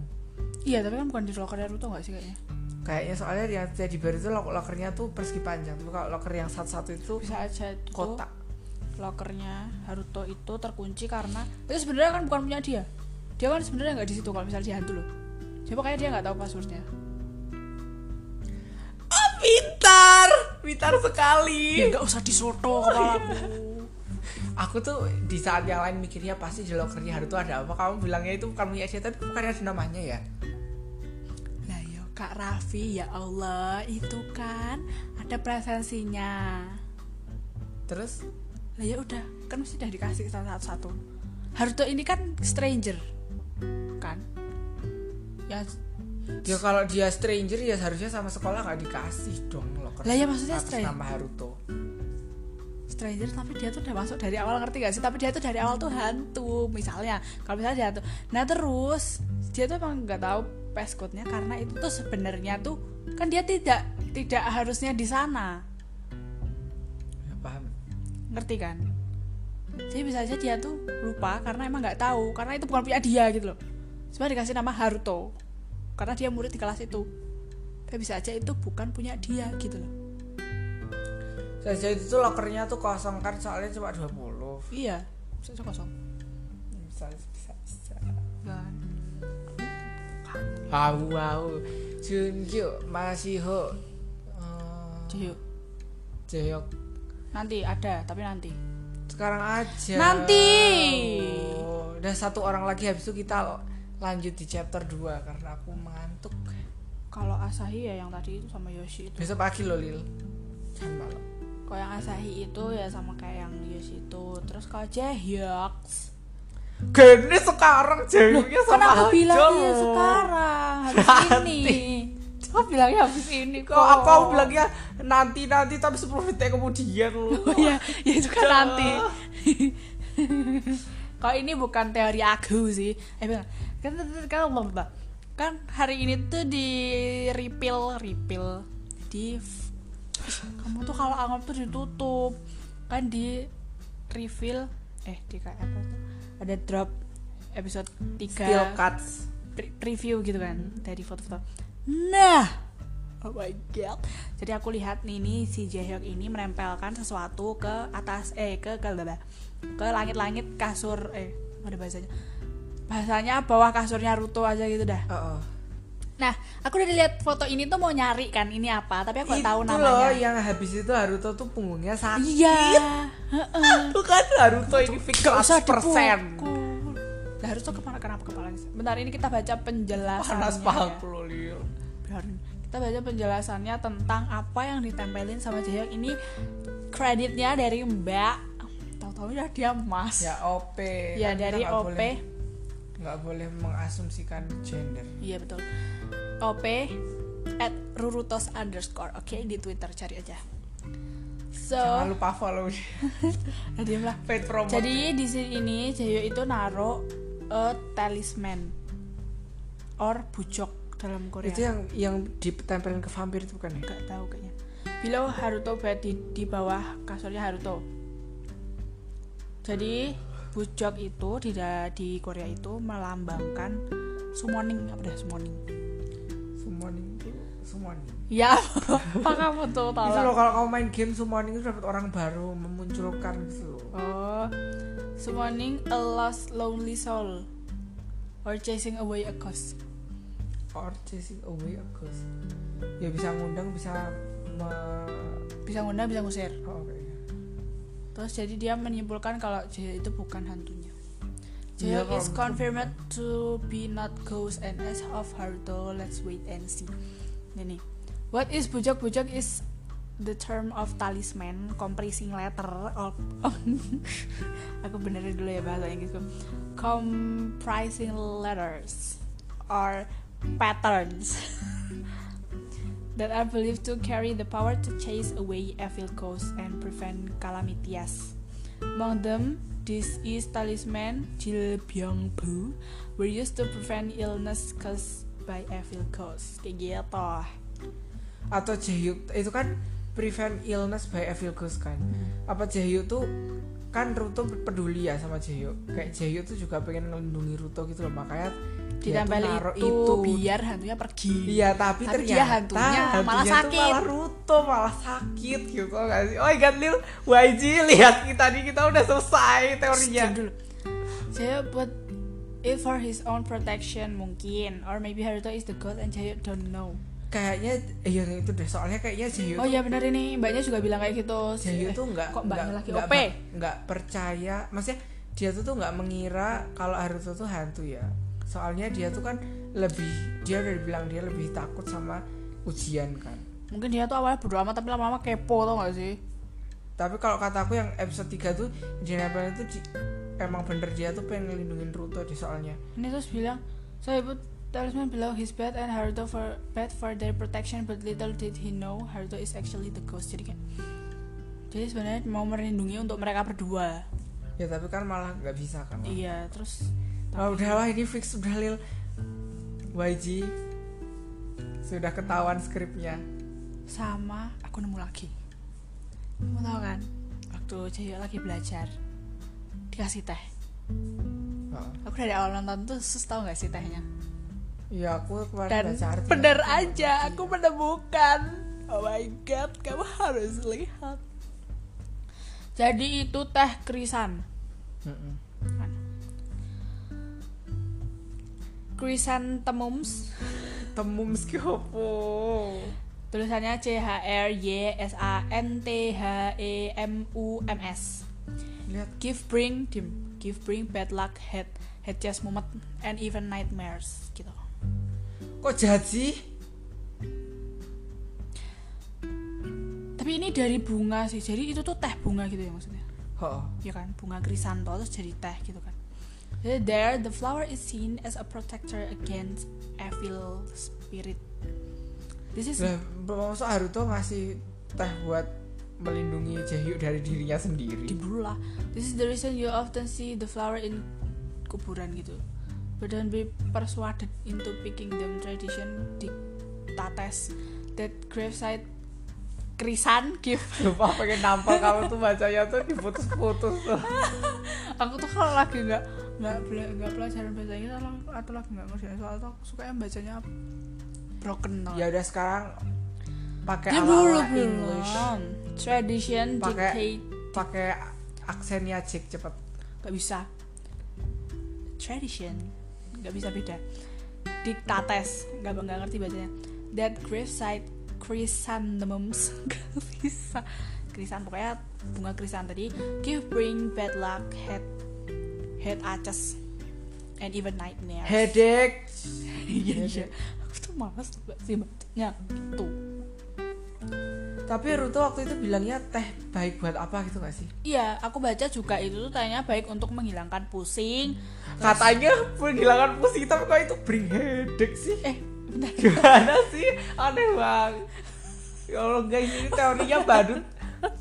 B: iya tapi kan bukan di locker Naruto nggak sih kayaknya
A: kayaknya soalnya yang teddy bear itu lo- lokernya tuh persegi panjang tapi kalau loker yang satu-satu itu
B: bisa gitu. aja itu
A: kotak
B: lokernya Haruto itu terkunci karena itu sebenarnya kan bukan punya dia dia kan sebenarnya nggak di situ kalau misalnya dia hantu loh coba kayaknya dia nggak tahu passwordnya
A: oh pintar pintar sekali
B: nggak usah disoto kepalaku
A: aku tuh di saat yang lain mikirnya pasti di lokernya Haruto ada apa kamu bilangnya itu bukan punya dia tapi bukan ada namanya ya
B: Lah yo Kak Raffi ya Allah itu kan ada presensinya.
A: terus
B: Lah ya udah kan mesti udah dikasih satu-satu. Haruto ini kan stranger kan? Ya
A: ya kalau dia stranger ya harusnya sama sekolah nggak dikasih dong loker
B: Lah, ya maksudnya
A: atas
B: stranger.
A: nama Haruto
B: stranger tapi dia tuh udah masuk dari awal ngerti gak sih? Tapi dia tuh dari awal tuh hantu misalnya. Kalau misalnya dia hantu. Nah terus dia tuh emang nggak tahu passcode-nya karena itu tuh sebenarnya tuh kan dia tidak tidak harusnya di sana.
A: ya, paham
B: ngerti kan jadi bisa aja dia tuh lupa karena emang nggak tahu karena itu bukan punya dia gitu loh cuma dikasih nama Haruto karena dia murid di kelas itu tapi bisa aja itu bukan punya dia gitu loh
A: saja itu tuh lokernya tuh kosong kan soalnya cuma 20
B: iya bisa aja kosong
A: bisa bisa bisa
B: kan
A: wow wow Junkyu Masihho eh,
B: Jadi yuk,
A: Jaehyuk
B: nanti ada tapi nanti
A: sekarang aja
B: Nanti.
A: Oh, udah satu orang lagi habis itu kita lanjut di chapter 2 karena aku mengantuk
B: kalau Asahi ya yang tadi itu sama Yoshi itu
A: besok pagi loh Lil jangan malam
B: kalau yang Asahi itu ya sama kayak yang Yoshi itu terus kalau Jaehyuk
A: gini sekarang jayuknya
B: kan
A: sama
B: aku
A: aja
B: bilang ya
A: loh.
B: sekarang habis
A: Nanti.
B: ini aku bilangnya habis ini kok
A: kok aku,
B: Oh.
A: aku bilangnya nanti nanti tapi 10 detik kemudian loh
B: Oh iya, ya itu kan
A: Duh.
B: nanti. Kalau ini bukan teori aku sih. Eh bener. Kan kan kan- kan hari ini tuh di refill refill di kamu tuh kalau anggap tuh ditutup kan di refill eh di kayak apa tuh ada drop episode 3
A: still cuts
B: pre- review gitu kan dari foto-foto. Nah, oh my god. Jadi aku lihat nih nih si Jaehyuk ini menempelkan sesuatu ke atas eh ke ke ke langit-langit kasur eh ada bahasanya. Bahasanya bawah kasurnya Ruto aja gitu dah.
A: Oh, oh.
B: Nah, aku udah lihat foto ini tuh mau nyari kan ini apa, tapi aku
A: itu
B: gak tahu
A: loh
B: namanya.
A: yang habis itu Haruto tuh punggungnya sakit
B: Iya. Heeh.
A: Tuh kan Haruto ini fix
B: Gak usah
A: 100%
B: dipukul. Lah harus tuh kemana kenapa kepalanya? Bentar ini kita baca penjelasannya.
A: panas
B: ya.
A: pahaku loh Lil
B: Biarin. Kita baca penjelasannya tentang apa yang ditempelin sama Jaehyuk ini kreditnya dari Mbak. Tahu-tahu ya dia Mas.
A: ya
B: Ya,
A: OP Kan kita
B: dari
A: nggak
B: OP.
A: boleh- nggak boleh mengasumsikan gender
B: Iya betul. OP at rurutos underscore. Oke di Twitter cari aja. So,
A: jangan lupa follow dia.
B: Nah, diam lah.
A: paid promote
B: Jadi di sini ini Jaehyuk itu naruh a talisman or bujok dalam Korea.
A: itu ya, yang yang ditempelin ke vampir itu bukan ya
B: nggak tahu kayaknya Bilo Haruto berada di, di bawah kasurnya Haruto jadi bujok itu di da- di Korea itu melambangkan summoning apa dah summoning
A: summoning itu summoning
B: ya apa kamu tuh tahu
A: itu loh kalau kamu main game summoning itu dapat orang baru memunculkan gitu loh
B: oh summoning a lost lonely soul or chasing away a ghost
A: or chasing away a ghost ya bisa ngundang bisa me...
B: bisa ngundang bisa ngusir
A: oh, oke.
B: Terus jadi dia menyimpulkan kalau Jae itu bukan hantunya.
A: Iya,
B: Jail
A: kalau
B: is
A: menurutku
B: confirmed to be not ghost and as of Haruto, let's wait and see. Ini. What is bujak-bujak is the term of talisman comprising letter of Aku benerin dulu ya bahasa Inggrisku. Comprising letters or patterns that are believed to carry the power to chase away evil ghosts and prevent calamities. Among them, this is talisman Jil Byung Bu were used to prevent illness caused by evil ghosts. Kayak gitu.
A: atau Jaehyuk itu kan prevent illness by evil ghost kan
B: Hmm.
A: apa Jaehyuk tuh kan Ruto peduli ya sama Jaehyuk kayak Jaehyuk tuh juga pengen melindungi Ruto gitu loh makanya dia tuh
B: Ditambah
A: naro
B: Iya, itu, biar hantunya pergi.
A: iya tapi,
B: Tapi
A: ternyata
B: dia hantunya malah
A: hantunya tuh
B: sakit.
A: malah Ruto malah sakit gitu gak sih oh my god Lil YG lihat kita tadi kita udah selesai
B: Shh,
A: teorinya
B: diam dulu. Saya buat it for his own protection mungkin or maybe Haruto is the god and Jayo don't know.
A: kayaknya iya itu deh soalnya kayaknya Jaehyuk
B: Oh ya benar ini mbaknya juga bilang kayak gitu.
A: Jayu
B: Eh,
A: tuh nggak nggak
B: kok mbaknya lagi
A: nggak
B: OP.
A: per- nggak percaya maksudnya dia tuh tuh nggak mengira kalau Haruto tuh hantu ya soalnya dia tuh kan lebih dia udah bilang dia lebih takut sama ujian kan
B: Mungkin dia tuh awalnya bodo amat tapi lama-lama kepo tau gak sih?
A: tapi kalau kataku yang episode 3 tuh Jenna Bell itu di- emang bener dia tuh pengen ngelindungin Ruto di soalnya
B: Ini terus bilang, saya put talisman below his bed and Haruto for bed for their protection, but little did he know Haruto is actually the ghost. Jadi kayak, jadi sebenarnya mau melindungi untuk mereka berdua.
A: ya tapi kan malah nggak bisa kan
B: Iya, terus
A: oh, udah lah ini fix udah lil YG sudah ketahuan skripnya
B: sama aku nemu lagi. Kamu tahu kan? Waktu Jaya lagi belajar dikasih teh.
A: Heeh.
B: Aku dari awal nonton tuh sus tau gak sih tehnya?
A: Iya aku kemarin
B: Dan
A: baca artikel.
B: bener aja aku menemukan Oh my god kamu harus lihat Jadi itu teh krisan
A: Mm-mm.
B: Chrysanthemums
A: temum skiopo
B: Tulisannya C H R Y S A N T H E M U M S
A: lihat
B: Give bring dim Give bring bad luck head head chest mumet and even nightmares gitu
A: kok jahat sih
B: Tapi ini dari bunga sih jadi itu tuh teh bunga gitu ya maksudnya
A: oh
B: ya kan bunga krisanto terus jadi teh gitu kan Jadi there the flower is seen as a protector against evil spirit this is
A: lah maksud Haruto ngasih teh buat melindungi Jaehyuk dari dirinya sendiri
B: diburu lah this is the reason you often see the flower in kuburan gitu but don't be persuaded into picking them tradition dictates that graveside krisan give
A: lupa pengen nampol kamu tuh bacanya tuh diputus-putus tuh
B: aku tuh kalau lagi nggak nggak bela- nggak pelajaran bahasa Inggris atau, atau lagi nggak ngerjain soal tuh aku suka yang bacanya broken tau
A: ya udah sekarang pakai
B: Ya,
A: ala
B: belum, belum.
A: English
B: Tradition
A: Pakai-
B: dictate
A: pakai aksennya Jack cepet
B: Gak bisa Tradition Gak bisa beda Dictates Gak, nggak ngerti bacanya That graveside chrysanthemums Gak bisa Krisan pokoknya bunga krisan tadi Give bring bad luck Head Head aces And even nightmare
A: headache
B: Iya iya Aku tuh malas banget sih bacanya Gitu
A: tapi Ruto waktu itu bilangnya teh baik buat apa gitu gak sih
B: Iya, aku baca juga itu tuh tanya baik untuk menghilangkan pusing.
A: Hmm. katanya penghilangan pusing tapi kok itu bring headache sih
B: Eh, bentar.
A: gimana sih aneh banget ya Allah guys ini teorinya badut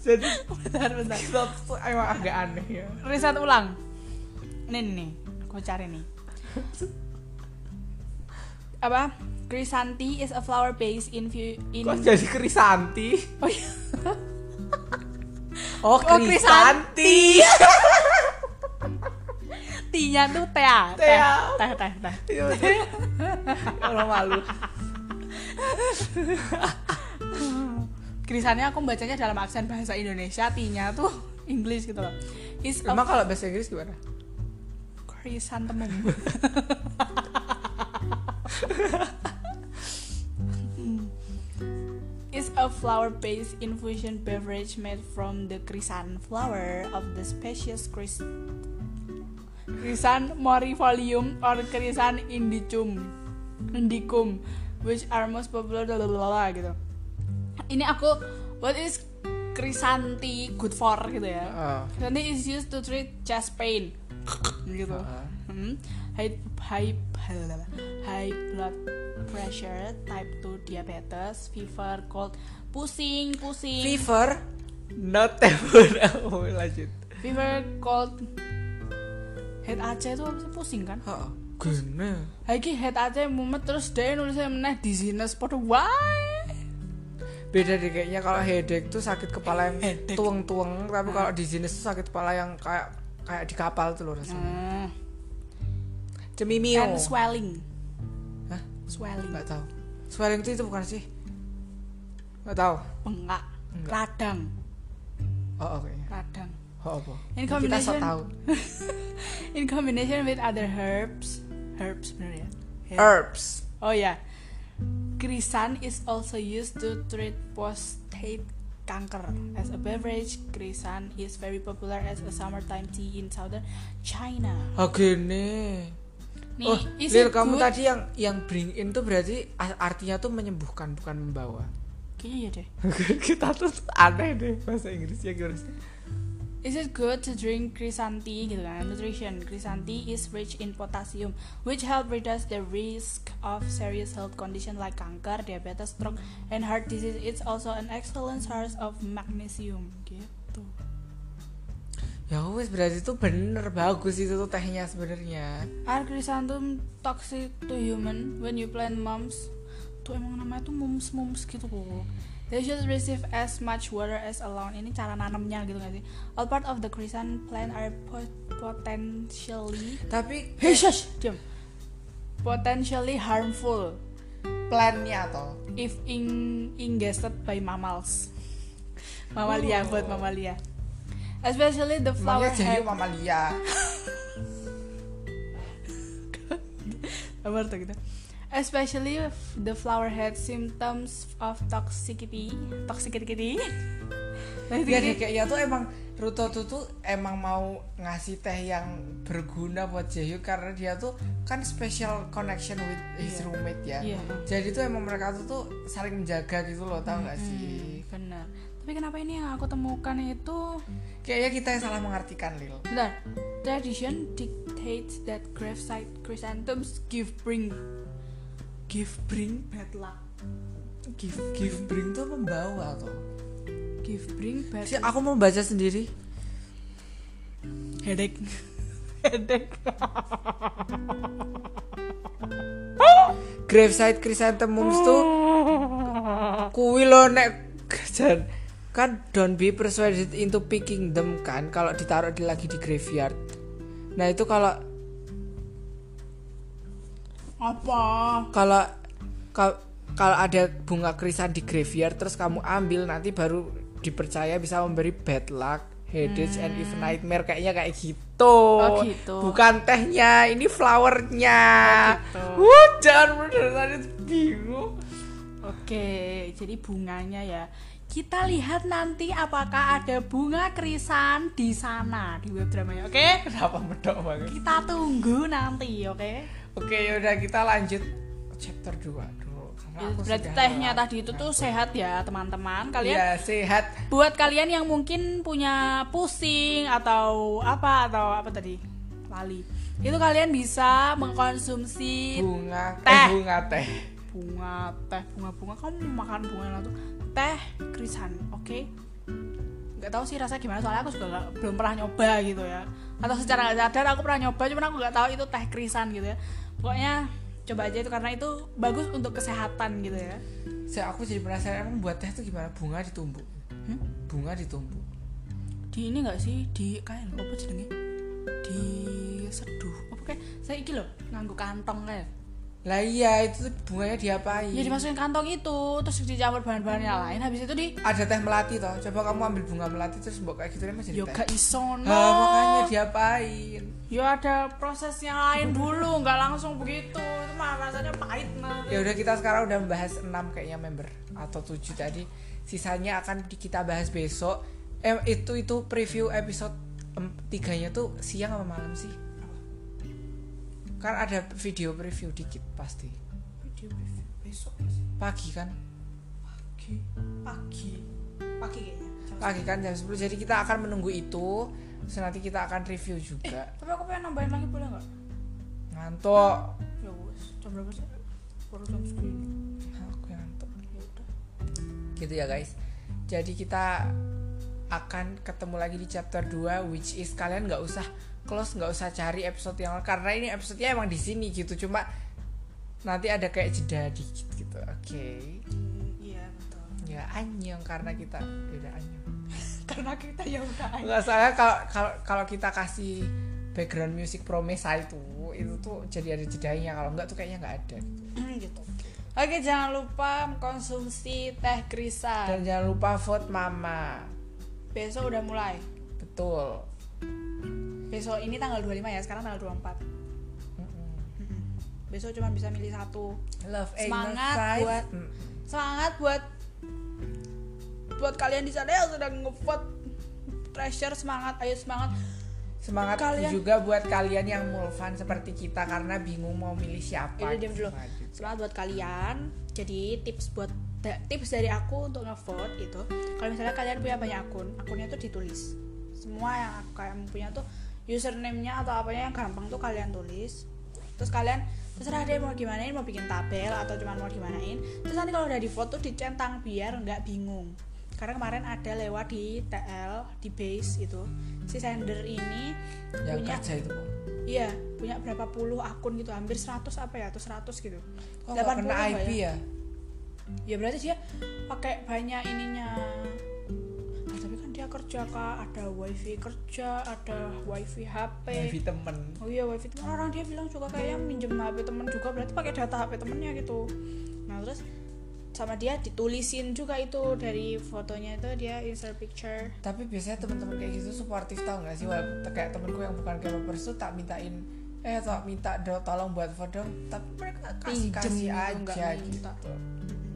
A: jadi
B: bentar, bentar.
A: kita tuh emang agak aneh ya
B: Riset ulang. Ini nih, nih, aku cari nih. Apa? Chrysanthi is a flower based in view in
A: kok jadi krisanti
B: Oh, iya.
A: oh
B: Krisanti. T-nya tuh tea, teh,
A: Tea.
B: teh, teh, teh.
A: Iya, betul. ya Allah malu
B: Krisannya aku bacanya dalam aksen bahasa Indonesia, T-nya tuh English gitu loh. Is a
A: emang kalau bahasa Inggris gimana
B: Chrysanthemum. It's Hmm. a flower-based infusion beverage made from the chrysan flower of the species Chris Krisan morifolium or Krisan indicum indicum which are most popular lalalala gitu ini aku what is Krisanti good for gitu ya
A: Ah.
B: Krisanti is used to treat chest pain gitu
A: Ah.
B: Hmm. high high high blood pressure type 2 diabetes fever cold pusing pusing
A: Fever not temper. Oh, lanjut.
B: fever cold head AC itu apa sih? pusing kan
A: Heeh. Gene.
B: lagi head AC mumet terus dia nulisnya meneh dizziness pada why
A: Beda deh kayaknya kalau headache tuh sakit kepala yang tueng-tueng, tapi kalau
B: Ah.
A: dizziness tuh sakit kepala yang kayak kayak di kapal tuh loh rasanya.
B: Hmm.
A: Cemimio.
B: and swelling
A: Hah?
B: swelling
A: Enggak tahu. Swelling itu itu bukan sih? Enggak tahu.
B: bengkak
A: Enggak.
B: radang
A: Oh, oh kayaknya.
B: radang
A: Oh, apa?
B: in
A: Kita sok
B: combination
A: tahu.
B: in combination with other herbs herbs bener ya Herbs.
A: Herbs.
B: Oh ya. Krisan is also used to treat prostate cancer. As a beverage, krisan is very popular as a summertime tea in southern China.
A: Oh, gini.
B: Nih,
A: Oh,
B: is
A: Lil,
B: it
A: kamu
B: good?
A: tadi yang yang bring in tuh berarti a- artinya tuh menyembuhkan bukan membawa.
B: Kayaknya iya deh.
A: Kita tuh aneh deh bahasa Inggrisnya gimana sih?
B: Is it good to drink krisan tea gitu kan? Nutrition. Krisan tea is rich in potassium, which help reduce the risk of serious health condition like cancer, diabetes, stroke, and heart disease. It's also an excellent source of magnesium. Gitu.
A: Ya wes berarti tuh bener bagus itu tuh tehnya sebenarnya.
B: Are chrysanthemum toxic to human when you plant mums? Tuh emang namanya tuh mums mums gitu kok. They should receive as much water as allowed. Ini cara nanamnya gitu gak sih? All part of the chrysanthemum plant are po- potentially
A: Tapi
B: Hei, shush, diam. Potentially harmful
A: plannya toh.
B: if in ingested by mammals. Mamalia
A: Oh.
B: buat mamalia. Especially the flower
A: Mamalia jayu
B: head.
A: mamalia.
B: Apa tuh gitu? Especially if the flower head symptoms of toxicity, toxicity.
A: Ya deh, kayaknya tuh emang Ruto tuh tuh emang mau ngasih teh yang berguna buat Jaehyun karena dia tuh kan special connection with his
B: Iya.
A: roommate ya.
B: Iya.
A: Jadi tuh emang mereka tuh tuh saling menjaga gitu loh, tau gak sih?
B: Hmm, benar. Tapi kenapa ini yang aku temukan itu
A: Kayaknya kita yang salah mengartikan Lil.
B: Bentar. Tradition dictates that graveside chrysanthemums give bring give bring bad luck.
A: Give give bring tuh membawa tuh.
B: Give bring bad
A: Si aku mau baca sendiri.
B: headache. headache.
A: Graveside chrysanthemums tuh kuwi lo nek jan kan don't be persuaded into picking them kan kalau ditaruh di lagi di graveyard. Nah itu kalau
B: Apa?
A: kalau kal- kalau ada bunga krisan di graveyard terus kamu ambil nanti baru dipercaya bisa memberi bad luck, headache and even nightmare kayaknya kayak gitu.
B: Hmm. Oh, gitu.
A: Bukan tehnya, ini flowernya.
B: Oh, gitu.
A: Wuh, jangan bener tadi bingung.
B: Oke, jadi bunganya ya. Kita lihat nanti apakah ada bunga krisan di sana di web dramanya. Oke?
A: Kenapa medok banget?
B: Kita tunggu nanti, oke?
A: Oke, yaudah kita lanjut chapter 2 dulu. Karena
B: Ya,
A: aku
B: Berarti
A: sudah
B: tehnya
A: lelah.
B: tadi itu tuh sehat ya, teman-teman. Kalian
A: Iya, sehat.
B: buat kalian yang mungkin punya pusing atau apa atau apa tadi lali itu kalian bisa mengkonsumsi
A: Bunga teh,
B: Teh.
A: bunga teh.
B: bunga teh bunga-bunga kamu mau makan bunga langsung teh krisan oke nggak tahu sih rasanya gimana soalnya aku juga nggak- belum pernah nyoba gitu ya atau secara nggak sadar aku pernah nyoba cuman aku nggak tahu itu teh krisan gitu ya pokoknya coba aja itu karena itu bagus untuk kesehatan gitu ya
A: Saya aku jadi penasaran emang buat teh itu gimana? Bunga ditumbuk.
B: Hmm?
A: Bunga ditumbuk.
B: di ini nggak sih di kain apa jenenge di seduh apa kayak saya iki loh nganggo kantong kayak
A: Lah iya, itu tuh bunganya diapain?
B: ya dimasukin kantong itu terus dicampur bahan-bahan yang lain habis itu di
A: Ada teh melati toh. Coba kamu ambil bunga melati terus mbok kayak gitu emang jadi
B: yoga
A: teh.
B: Ya, isono
A: Lah, Ah, makanya diapain?
B: ya ada proses yang lain dulu nggak langsung begitu itu mah rasanya pahit banget
A: Ya udah kita sekarang udah membahas 6 kayaknya member atau 7 tadi. Sisanya akan di- kita bahas besok. Eh itu itu preview episode em, tiganya tuh siang apa malam sih? kan ada video preview dikit pasti
B: video preview besok pasti.
A: pagi kan
B: pagi pagi pagi kayaknya jam
A: pagi kan jam 10 jadi kita akan menunggu itu terus nanti kita akan review juga
B: Tapi aku pengen nambahin lagi boleh nggak?
A: ngantuk
B: Ya wes, jam berapa sih? Baru jam segini.
A: aku ngantuk
B: Ya udah.
A: gitu ya guys jadi kita akan ketemu lagi di chapter 2 which is kalian nggak usah close nggak usah cari episode yang karena ini episodenya emang di sini gitu cuma nanti ada kayak jeda dikit gitu oke
B: Iya betul.
A: ya anjing karena kita Ya udah anjing
B: Karena kita ya udah. aja.
A: nggak salah kalau kalau- kalau kita kasih background music promesa itu itu tuh jadi ada jedanya kalau nggak tuh kayaknya nggak ada
B: gitu. Oke jangan lupa mengkonsumsi teh kristal.
A: dan jangan lupa vote mama
B: Besok udah mulai.
A: betul
B: Besok ini tanggal 25 ya, sekarang tanggal
A: Mm-mm.
B: 24. Mm-mm. Besok cuma bisa milih satu.
A: love ain't no
B: Semangat
A: size.
B: buat-
A: Mm.
B: Semangat buat buat kalian di sana yang sedang ngevote treasure semangat ayo semangat
A: Semangat
B: Kalian-
A: juga buat kalian yang mulfan seperti kita karena bingung mau milih siapa.
B: Yaudah, diam dulu.
A: Nah, gitu.
B: semangat buat kalian jadi tips buat da- tips dari aku untuk ngevote itu kalau misalnya kalian punya banyak akun akunnya tuh ditulis semua yang aku- kalian punya tuh username-nya atau apanya yang gampang tuh kalian tulis terus kalian terserah deh mau gimanain mau bikin tabel atau cuman mau gimanain terus nanti kalau udah di vote tuh dicentang biar nggak bingung karena kemarin ada lewat di TL di base itu si sender ini
A: Yang
B: punya
A: kerja itu kok.
B: iya punya berapa puluh akun gitu hampir 100 apa ya atau 100 gitu
A: Kok Oh, nggak kena
B: nggak
A: IP ya?
B: ya berarti dia pakai banyak ininya Ah, tapi kan dia kerja kak ada wifi kerja ada wifi HP
A: Wifi temen.
B: oh iya wifi teman orang dia bilang juga kayaknya minjem HP temen juga berarti pakai data HP temennya gitu nah terus sama dia ditulisin juga itu dari fotonya itu dia insert picture
A: Tapi biasanya teman-teman kayak gitu suportif tau gak sih? Walaupun te- kayak temenku yang bukan developers tuh tak mintain eh tak minta do, tolong buat foto tapi mereka kasih kasih
B: Pinjem gitu,
A: aja
B: nggak minta.
A: gitu.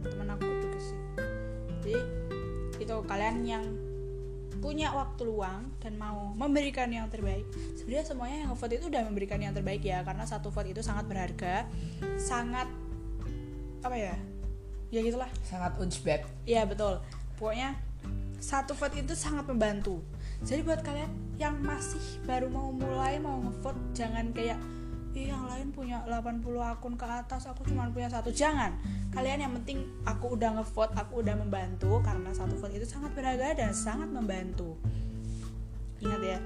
B: temen aku juga sih jadi itu kalian yang punya waktu luang dan mau memberikan yang terbaik sebenarnya semuanya yang vote itu udah memberikan yang terbaik ya karena satu vote itu sangat berharga sangat apa ya ya gitulah
A: Sangat unjbab.
B: Iya betul. Pokoknya satu vote itu sangat membantu. Jadi buat kalian yang masih baru mau mulai mau ngevote jangan kayak "Ih, yang lain punya 80 akun ke atas, aku cuma punya satu. Jangan. Kalian yang penting aku udah ngevote, aku udah membantu karena satu vote itu sangat berharga dan sangat membantu. Ingat ya.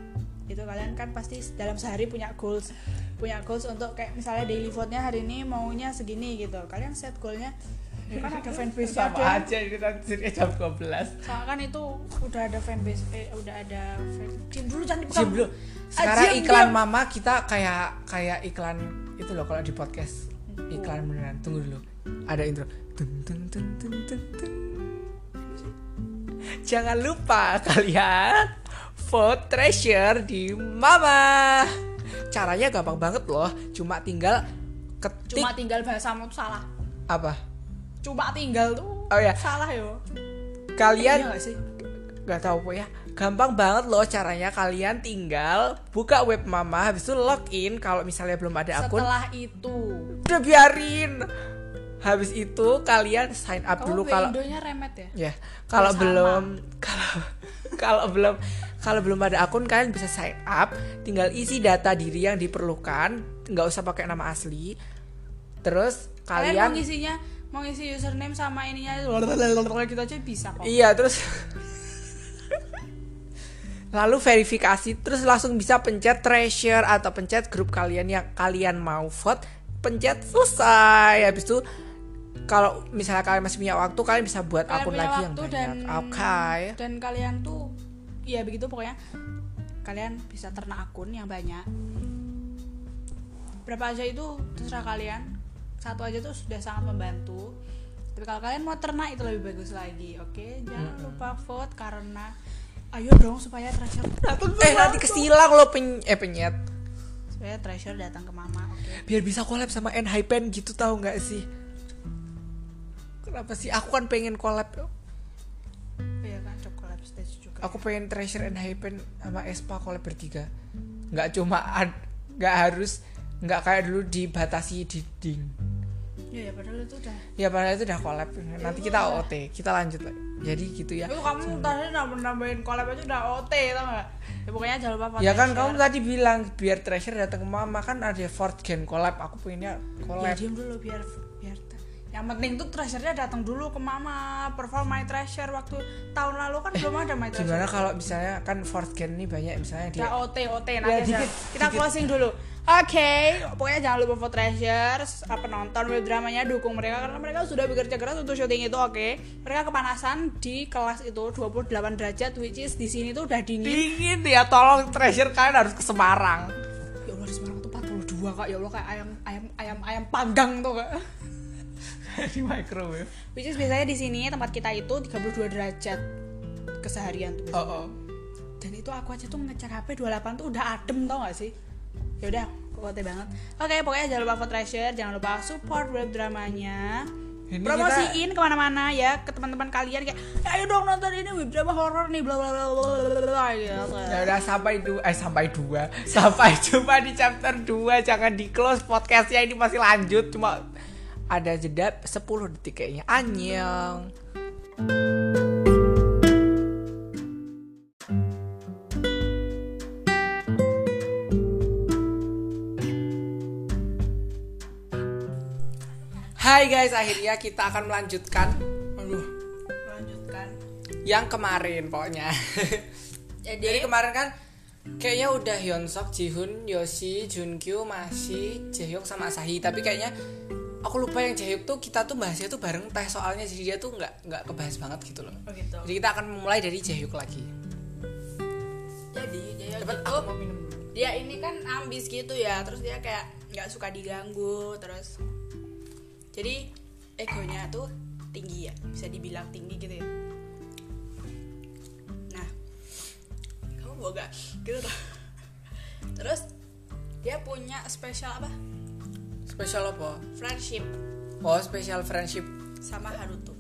B: Itu kalian kan pasti dalam sehari punya goals. Punya goals untuk kayak misalnya daily vote-nya hari ini maunya segini gitu. Kalian set goalnya kan ada fanbase
A: Sama aja ini nanti jadinya jam 12.
B: Soalnya kan itu udah ada fanbase, eh, udah ada fan. Diam dulu jangan dipegang.
A: Jam dulu. Sekarang iklan mama kita kayak kayak iklan itu loh kalau di podcast. Iklan beneran. Tunggu dulu. Ada intro. Tung, tung, tung, tung, tung, tung. Jangan lupa kalian vote treasure di Mama. Caranya gampang banget loh. Cuma tinggal ketik
B: Cuma tinggal bahasamu tuh salah.
A: apa?
B: Cuma tinggal tuh.
A: Oh, iya.
B: Salah yo.
A: Kalian
B: Iya nggak sih?
A: nggak tahu po ya gampang banget loh caranya kalian tinggal buka web mama habis itu login kalau misalnya belum ada akun
B: Setelah itu.
A: udah biarin habis itu kalian sign up
B: Kamu
A: dulu
B: kalau
A: kalau
B: Indonya remet ya?
A: ya kalau
B: Sama.
A: belum kalau kalau belum kalau belum ada akun kalian bisa sign up tinggal isi data diri yang diperlukan nggak usah pakai nama asli terus kalian
B: Kalian, mau ngisinya mau ngisi username sama ininya gitu aja bisa kok.
A: Iya terus lalu verifikasi terus langsung bisa pencet treasure atau pencet grup kalian yang kalian mau vote pencet selesai habis itu kalau misalnya kalian masih punya waktu kalian bisa buat
B: Kalian
A: akun
B: punya
A: lagi yang
B: waktu
A: banyak
B: dan
A: oke
B: dan kalian tuh ya begitu pokoknya kalian bisa ternak akun yang banyak berapa aja itu terserah kalian satu aja tuh sudah sangat membantu tapi kalau kalian mau ternak itu lebih bagus lagi oke jangan lupa vote karena ayo dong supaya treasure datang ke
A: eh nanti
B: mama.
A: kesilang lo pen eh penyet
B: supaya treasure datang ke mama oke
A: biar bisa collab sama Enhypen gitu tahu nggak sih kenapa sih aku kan pengen collab
B: ya kan coklat stage juga
A: aku pengen treasure and hypen sama Espa collab bertiga nggak cuma ad- nggak harus nggak kayak dulu dibatasi dinding
B: ya ya padahal itu udah
A: ya padahal itu udah collab nanti kita OT kita lanjut lagi. jadi gitu ya
B: itu kamu tadi nambah nambahin collab aja udah OT tau gak ya pokoknya jangan lupa
A: ya kan kamu
B: Foundation.
A: tadi bilang biar treasure datang ke mama kan ada fourth gen collab aku pengennya
B: ya
A: collab
B: diem dulu biar biar yang penting tuh treasure-nya datang dulu ke mama perform my treasure waktu tahun lalu kan belum ada my treasure
A: gimana kalau misalnya kan fourth gen ini banyak misalnya dia
B: Udah OT OT nanti aja.
A: Ya, dikit,
B: nah, ya, kita
A: dikit.
B: closing dulu. Oke, pokoknya jangan lupa vote treasures, apa nonton web dramanya, dukung mereka karena mereka sudah bekerja keras untuk syuting itu. Oke, mereka kepanasan di kelas itu 28 derajat, which is di sini tuh udah dingin.
A: dingin ya tolong treasure kalian harus ke Semarang
B: Ya Allah di Semarang tuh 42 kak, ya Allah kayak ayam ayam ayam ayam panggang tuh kak.
A: di microwave
B: Which is biasanya di sini tempat kita itu 32 derajat keseharian tuh.
A: oh oh
B: dan itu aku aja tuh ngecek HP 28 tuh udah adem tau gak sih ya udah kote banget oke pokoknya jangan lupa vote treasure jangan lupa support web dramanya
A: Ini
B: promosiin kemana-mana ya ke teman-teman kalian kayak "Eh, ayo dong nonton ini web drama horor nih bla bla bla bla bla bla bla," gitu.
A: ya udah sampai dua eh sampai dua sampai jumpa di chapter 2 jangan di close podcastnya ini masih lanjut cuma ada jeda 10 detik kayaknya anyang Hai guys, akhirnya kita akan melanjutkan Aduh,
B: lanjutkan
A: yang kemarin pokoknya.
B: jadi,
A: Jadi kemarin kan kayaknya udah Hyunsuk, Jihun, Yoshi, Junkyu, masih Jaehyuk sama Asahi. Tapi kayaknya aku lupa yang Jaehyuk tuh kita tuh bahasnya tuh bareng teh soalnya jadi dia tuh nggak nggak kebahas banget gitu loh.
B: oh gitu
A: Jadi kita akan memulai dari Jaehyuk lagi.
B: jadi jadi
A: Cepet aku mau minum dulu.
B: dia ini kan ambis gitu ya terus dia kayak nggak suka diganggu terus jadi egonya tuh tinggi ya bisa dibilang tinggi gitu ya nah kamu mau gak gitu loh. terus dia punya spesial apa
A: Spesial apa?
B: friendship
A: Oh, spesial friendship.
B: sama Haruto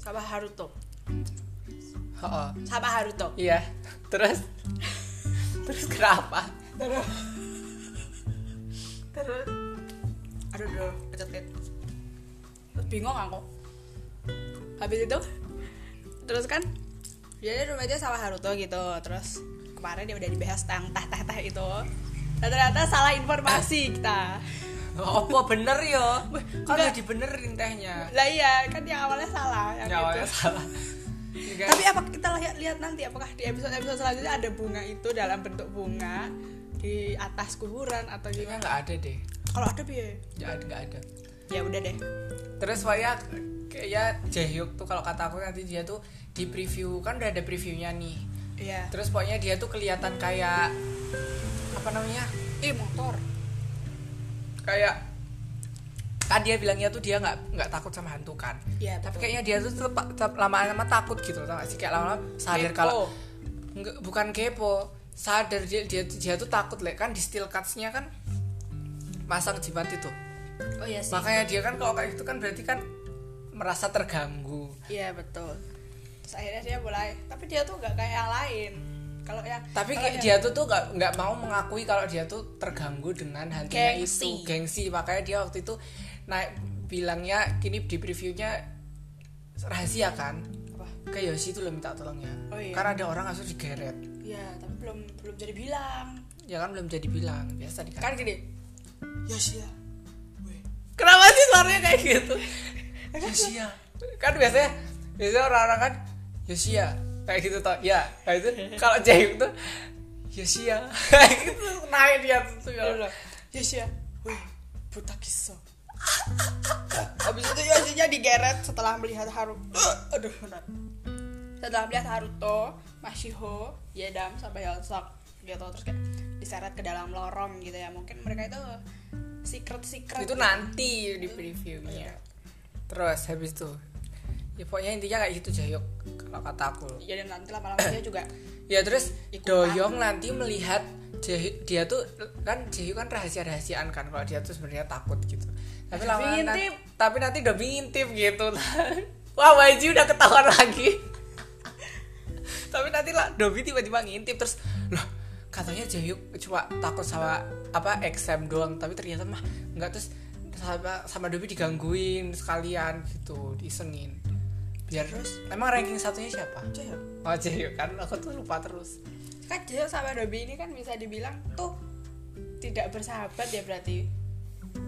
B: sama Haruto
A: Oh,
B: sama Haruto
A: iya. Terus terus kenapa?
B: terus aduh aduh kecetit bingung aku habis itu terus kan dia di rumah aja sama Haruto gitu terus kemarin dia udah dibahas tentang tah tah tah itu dan ternyata salah informasi kita
A: Apa bener yo?
B: Weh,
A: Kan udah
B: enggak.
A: dibenerin tehnya.
B: lah iya kan yang awalnya salah yang
A: Ya,
B: itu.
A: awalnya salah. Ini guys.
B: tapi apa kita lihat lihat nanti apakah di episode episode selanjutnya ada bunga itu dalam bentuk bunga di atas kuburan atau
A: Kayaknya
B: gimana
A: Iya nggak ada deh.
B: kalau ada piye
A: Nggak ada, nggak ada.
B: ya udah deh
A: Terus Waya kayaknya Jaehyuk tuh kalau kata aku nanti dia tuh di preview kan udah ada previewnya nih.
B: iya
A: Terus pokoknya dia tuh kelihatan kayak apa namanya?
B: eh motor
A: Kayak kan dia bilangnya tuh dia nggak nggak takut sama hantu kan.
B: Iya,
A: Tapi
B: betul.
A: kayaknya dia tuh tetep- tetep lama-lama takut gitu loh, tau gak sih? Kayak lama-lama sadar
B: Kepo.
A: kalau Nggak- bukan kepo, sadar dia dia, dia tuh takut lah kan di steel cuts-nya kan masang jimat itu.
B: oh iya sih
A: Makanya dia kan kalau kayak gitu kan berarti kan merasa terganggu.
B: Iya betul. Terus akhirnya dia mulai, tapi dia tuh nggak kayak yang lain. Kalau yang
A: Tapi
B: kalau
A: kayak
B: yang-
A: dia tuh tuh nggak nggak mau mengakui kalau dia tuh terganggu dengan hantunya
B: Gengsi.
A: itu gengsi. Makanya dia waktu itu naik bilangnya kini di previewnya rahasia kan
B: apa?
A: ke Yoshi itu lo minta tolongnya.
B: Oh iya.
A: Karena ada orang langsung digeret.
B: Iya, tapi belum belum jadi bilang.
A: Ya kan belum jadi bilang biasa di
B: Kan gini. Yosia.
A: Kenapa sih suaranya kayak gitu? Yosia. Kan biasanya biasanya orang-orang kan Yosia kayak gitu tau ya kayak itu kalau Jaehyuk tuh Yosia kayak gitu naik dia tuh ya
B: Iya.
A: Allah.
B: Yosia. Weh, buta kiso. Habis itu Yosia digeret setelah melihat Haru. Aduh, benar. Setelah melihat Haruto, Mashiho, Yedam sampai Hyunsuk gitu terus kayak diseret ke dalam lorong gitu ya. Mungkin mereka itu secret secret
A: itu nanti di previewnya terus habis itu ya pokoknya intinya kayak gitu Jaehyuk kalau kata aku
B: jadi nanti lama-lama dia juga
A: ya terus
B: Ikutan.
A: Doyong nanti melihat Jaehyuk- dia tuh kan Jaehyuk kan rahasia-rahasiaan kan kalau dia tuh sebenarnya takut gitu tapi
B: Udah
A: lama
B: ngintip.
A: tapi nanti udah ngintip gitu wah Baji udah ketahuan lagi tapi nanti lah Dobi tiba-tiba ngintip terus loh katanya Jaehyuk cuma takut sama apa exam doang tapi ternyata mah nggak terus sama sama Dobi digangguin sekalian gitu disengin biar terus emang ranking satunya siapa
B: Jaehyuk.
A: oh Jaehyuk kan aku tuh lupa terus
B: kan Jaehyuk sama Dobi ini kan bisa dibilang tuh tidak bersahabat ya berarti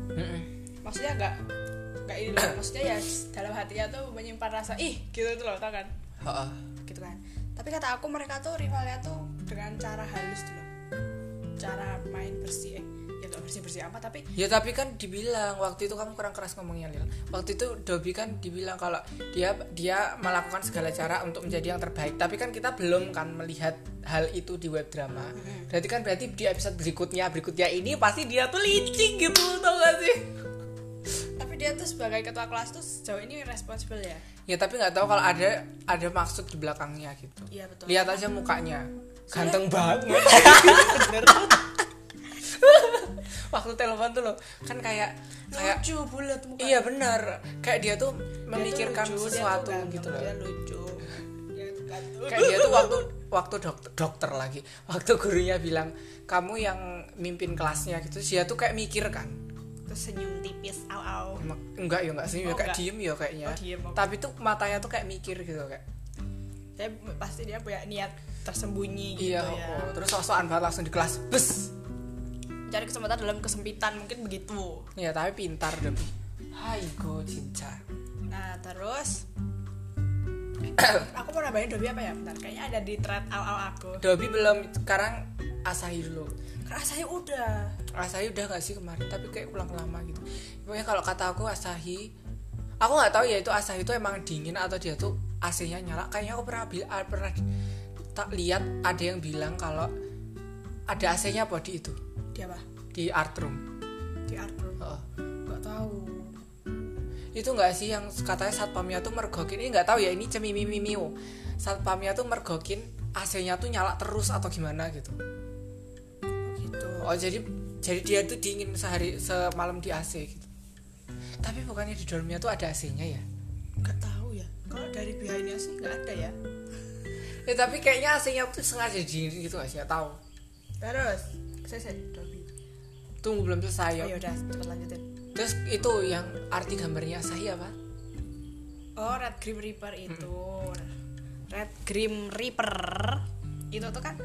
A: Mm-mm.
B: maksudnya nggak nggak ini loh maksudnya ya dalam hatinya tuh menyimpan rasa ih gitu tuh loh tau kan
A: Ha-ah.
B: gitu kan tapi kata aku mereka tuh rivalnya tuh dengan cara halus dulu cara main bersih eh ya gak bersih bersih apa tapi
A: Ya tapi kan dibilang waktu itu kamu kurang keras ngomongnya Lil. Waktu itu Dobi kan dibilang kalau dia dia melakukan segala cara untuk menjadi yang terbaik. Tapi kan kita belum kan melihat hal itu di web drama. Berarti kan berarti di episode berikutnya berikutnya ini pasti dia tuh licik gitu tau gak sih?
B: tapi dia tuh sebagai ketua kelas tuh sejauh ini responsible ya
A: Ya tapi nggak tahu kalau ada ada maksud di belakangnya gitu.
B: iya betul
A: Lihat aja mukanya. Ganteng banget. Bener. Waktu telepon tuh loh kan kayak kayak
B: lucu bulat muka
A: Iya benar. Kayak dia tuh
B: Dia tuh
A: memikirkan
B: lucu, dia tuh
A: sesuatu
B: ganteng,
A: gitu loh.
B: dia lucu Dia tuh ganteng.
A: Kayak dia tuh waktu waktu dokter, dokter lagi. Waktu gurunya bilang, "Kamu yang mimpin kelasnya." gitu. Dia tuh kayak mikir kan.
B: terus senyum tipis au au
A: Mak- Enggak ya enggak sih, ya
B: Oh,
A: kayak
B: enggak.
A: diem ya kayaknya.
B: Oh, diem, oke.
A: Tapi tuh matanya tuh kayak mikir gitu kayak.
B: saya pasti dia punya niat tersembunyi gitu
A: Iya,
B: ya
A: oh. terus sosokan banget langsung di kelas. Bes.
B: cari kesempatan dalam kesempitan mungkin begitu
A: Ya, tapi pintar deh. Hai, go cinta.
B: Nah terus Aku mau nambahin Dobi apa ya? Bentar, kayaknya ada di thread awal aku
A: Dobi belum sekarang Asahi dulu.
B: Karena saya udah
A: Asahi udah gak sih kemarin tapi kayak ulang lama gitu pokoknya kalau kata aku Asahi aku nggak tahu ya itu Asahi itu emang dingin atau dia tuh AC-nya nyala kayaknya aku pernah bil- ah, pernah tak lihat ada yang bilang kalau ada AC-nya apa di itu
B: Di apa?
A: di art room
B: Di Arbor
A: Heeh.
B: Gak tau
A: itu nggak sih yang katanya satpamnya tuh mergokin ini nggak tahu ya ini cemimimimiu satpamnya tuh mergokin AC-nya tuh nyala terus atau gimana gitu
B: Gitu
A: Oh jadi jadi dia tuh dingin sehari semalam di AC gitu. Tapi bukannya di dormnya tuh ada AC-nya ya?
B: Gak tau ya Kalau dari behindnya sih gak ada ya
A: Ya tapi kayaknya AC-nya tuh sengaja dingin gitu nggak sih? Nggak tahu.
B: Terus Saya saya Dobi
A: Tunggu belum selesai ya.
B: Ayo udah cepet lanjutin
A: Terus itu yang arti gambarnya saya apa?
B: Oh Red Grim Reaper itu Red Grim Reaper Itu tuh kan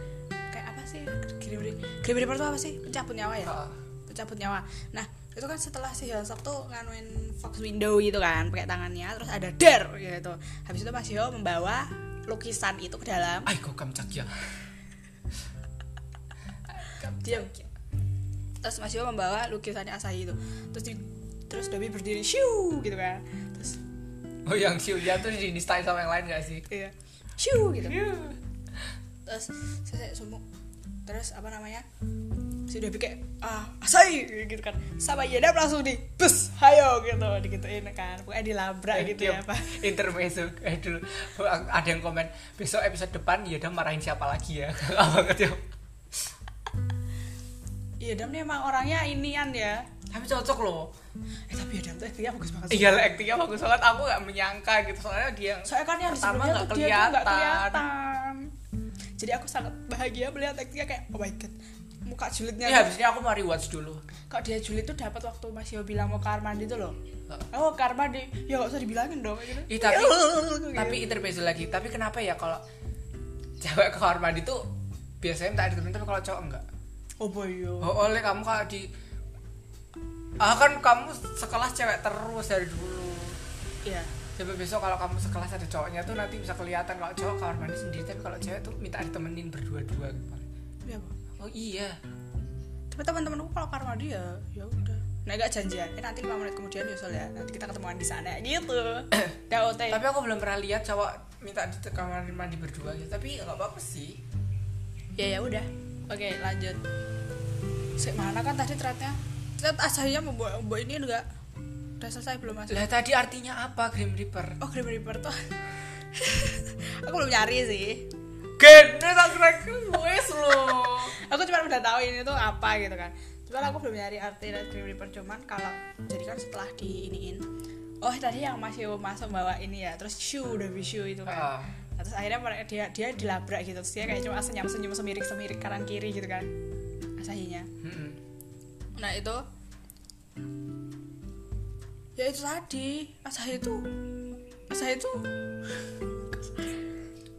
B: Kayak apa sih Grim Reaper Grim Reaper tuh apa sih? Pencabut nyawa ya?
A: Heeh.
B: pencabut nyawa. Nah, itu kan setelah si Hyosop tuh nganuin Fox Window gitu kan, pakai tangannya, terus ada der gitu. Habis itu Mas Hyo membawa lukisan itu ke dalam.
A: Ai kok kamcak ya.
B: Diam. Terus Mas Hyo membawa lukisannya Asahi itu. Terus di, terus Dobi berdiri shiu gitu kan. Terus
A: Oh yang siu ya tuh di distain sama yang lain gak sih?
B: iya. Shiu gitu.
A: Iya.
B: Terus saya, saya sumuk. Terus apa namanya? Si Dobi kayak ah Asahi gitu kan. Sama Yedap langsung di bus, hayo gitu digituin kan. Pokoknya dilabrak
A: Eh,
B: gitu ya,
A: tiap
B: Pak.
A: Intermezzo eh, dulu ada yang komen besok episode depan ya udah marahin siapa lagi ya? Apa banget ya?
B: Iya Dam nih emang orangnya inian ya
A: Tapi cocok loh.
B: Eh tapi ya Dam tuh actingnya bagus banget sih
A: Iya lah aktingnya bagus banget aku gak menyangka gitu soalnya dia yang
B: Soalnya kan yang di
A: Pertama
B: sebelumnya
A: nggak
B: tuh dia tuh gak
A: kelihatan.
B: kelihatan Jadi aku sangat bahagia melihat actingnya kayak Oh my god Muka julidnya
A: ini habis ini Ya, aku mau rewatch dulu.
B: Kok dia julid tuh dapat waktu Mas Yo bilang mau kamar mandi tuh loh Oh kamar mandi Ya gak usah dibilangin dong kayak
A: Ih,
B: gitu.
A: tapi
B: Gitu.
A: tapi intermezzo lagi. Tapi kenapa ya kalau cewek ke kamar mandi tuh biasanya minta ditemenin tapi kalau cowok enggak.
B: Oh boy yo
A: Oh, oleh kamu kalau di Ah kan kamu sekelas cewek terus dari dulu.
B: Iya
A: Coba besok kalau kamu sekelas ada cowoknya tuh nanti bisa kelihatan kalau cowok kamar mandi sendiri tapi kalau cewek tuh minta ditemenin berdua-dua gitu.
B: Iya Bo.
A: Oh iya.
B: Tapi teman-temanku kalau kamar mandi ya ya udah Nah gak janjian Eh nanti 5 menit kemudian ya soalnya Nanti kita ketemuan di sana gitu Dah ote
A: Tapi aku belum pernah lihat cowok minta di kamar mandi berdua gitu. Tapi nggak apa-apa sih.
B: ya ya udah oke lanjut Sik mana kan tadi threadnya thread asahnya membuat membuat ini enggak udah selesai belum mas
A: Lah tadi artinya apa Grim Reaper?
B: oh Grim Reaper tuh aku belum nyari sih
A: Gede tak kira-kira wes loh.
B: aku cuma udah tahu ini tuh apa gitu kan cuman aku belum nyari arti dari Grim Reaper cuman kalau jadi kan setelah di iniin oh tadi yang masih masuk bawa ini ya terus shoe udah shoe itu kan
A: Ah.
B: terus akhirnya mereka- dia dia dilabrak gitu terus dia kayak cuma senyum senyum semirik semirik kanan kiri gitu kan asahinya
A: Mm-mm.
B: nah itu ya itu tadi asahi itu asahi itu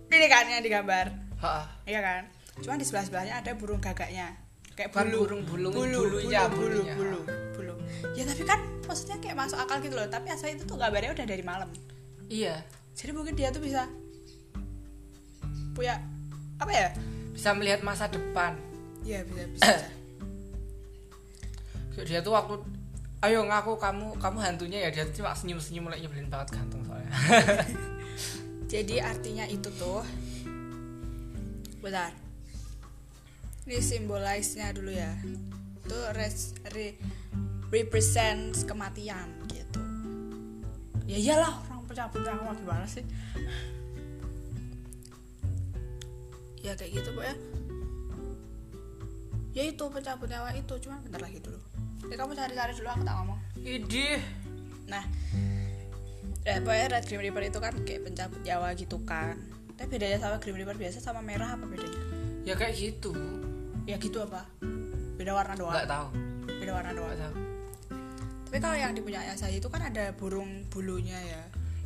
B: ini kan yang digambar
A: Ha-ha.
B: iya kan cuma di sebelah sebelahnya ada burung gagaknya kayak
A: Kan
B: bulu
A: burung bulung,
B: bulu
A: bulunya,
B: bulu
A: bulunya.
B: bulu bulu ya tapi kan maksudnya kayak masuk akal gitu loh tapi asahi itu tuh gambarnya udah dari malam
A: Iya.
B: jadi mungkin dia tuh bisa punya apa ya
A: Bisa melihat masa depan.
B: ya bisa bisa, bisa.
A: Dia tuh waktu ayo ngaku kamu kamu hantunya ya dia tuh cuma senyum-senyum mulai nyebelin banget ganteng soalnya.
B: jadi artinya itu tuh bentar ini simbolize-nya dulu ya itu res, re- represents kematian gitu ya iyalah orang pecah-pecah mau gimana sih ya kayak gitu pokoknya ya itu pecah benyawa itu cuman bentar lagi dulu ya kamu cari-cari dulu aku tak ngomong
A: Idih.
B: Nah, eh, pokoknya Red Grim Reaper itu kan kayak pencabut Jawa gitu kan. Tapi bedanya sama Grim Reaper biasa sama merah apa bedanya?
A: Ya kayak gitu.
B: Ya gitu apa? Beda warna doang.
A: Enggak tahu.
B: Beda warna doang.
A: Enggak tahu.
B: Tapi kalau yang dipunyai saya itu kan ada burung bulunya ya.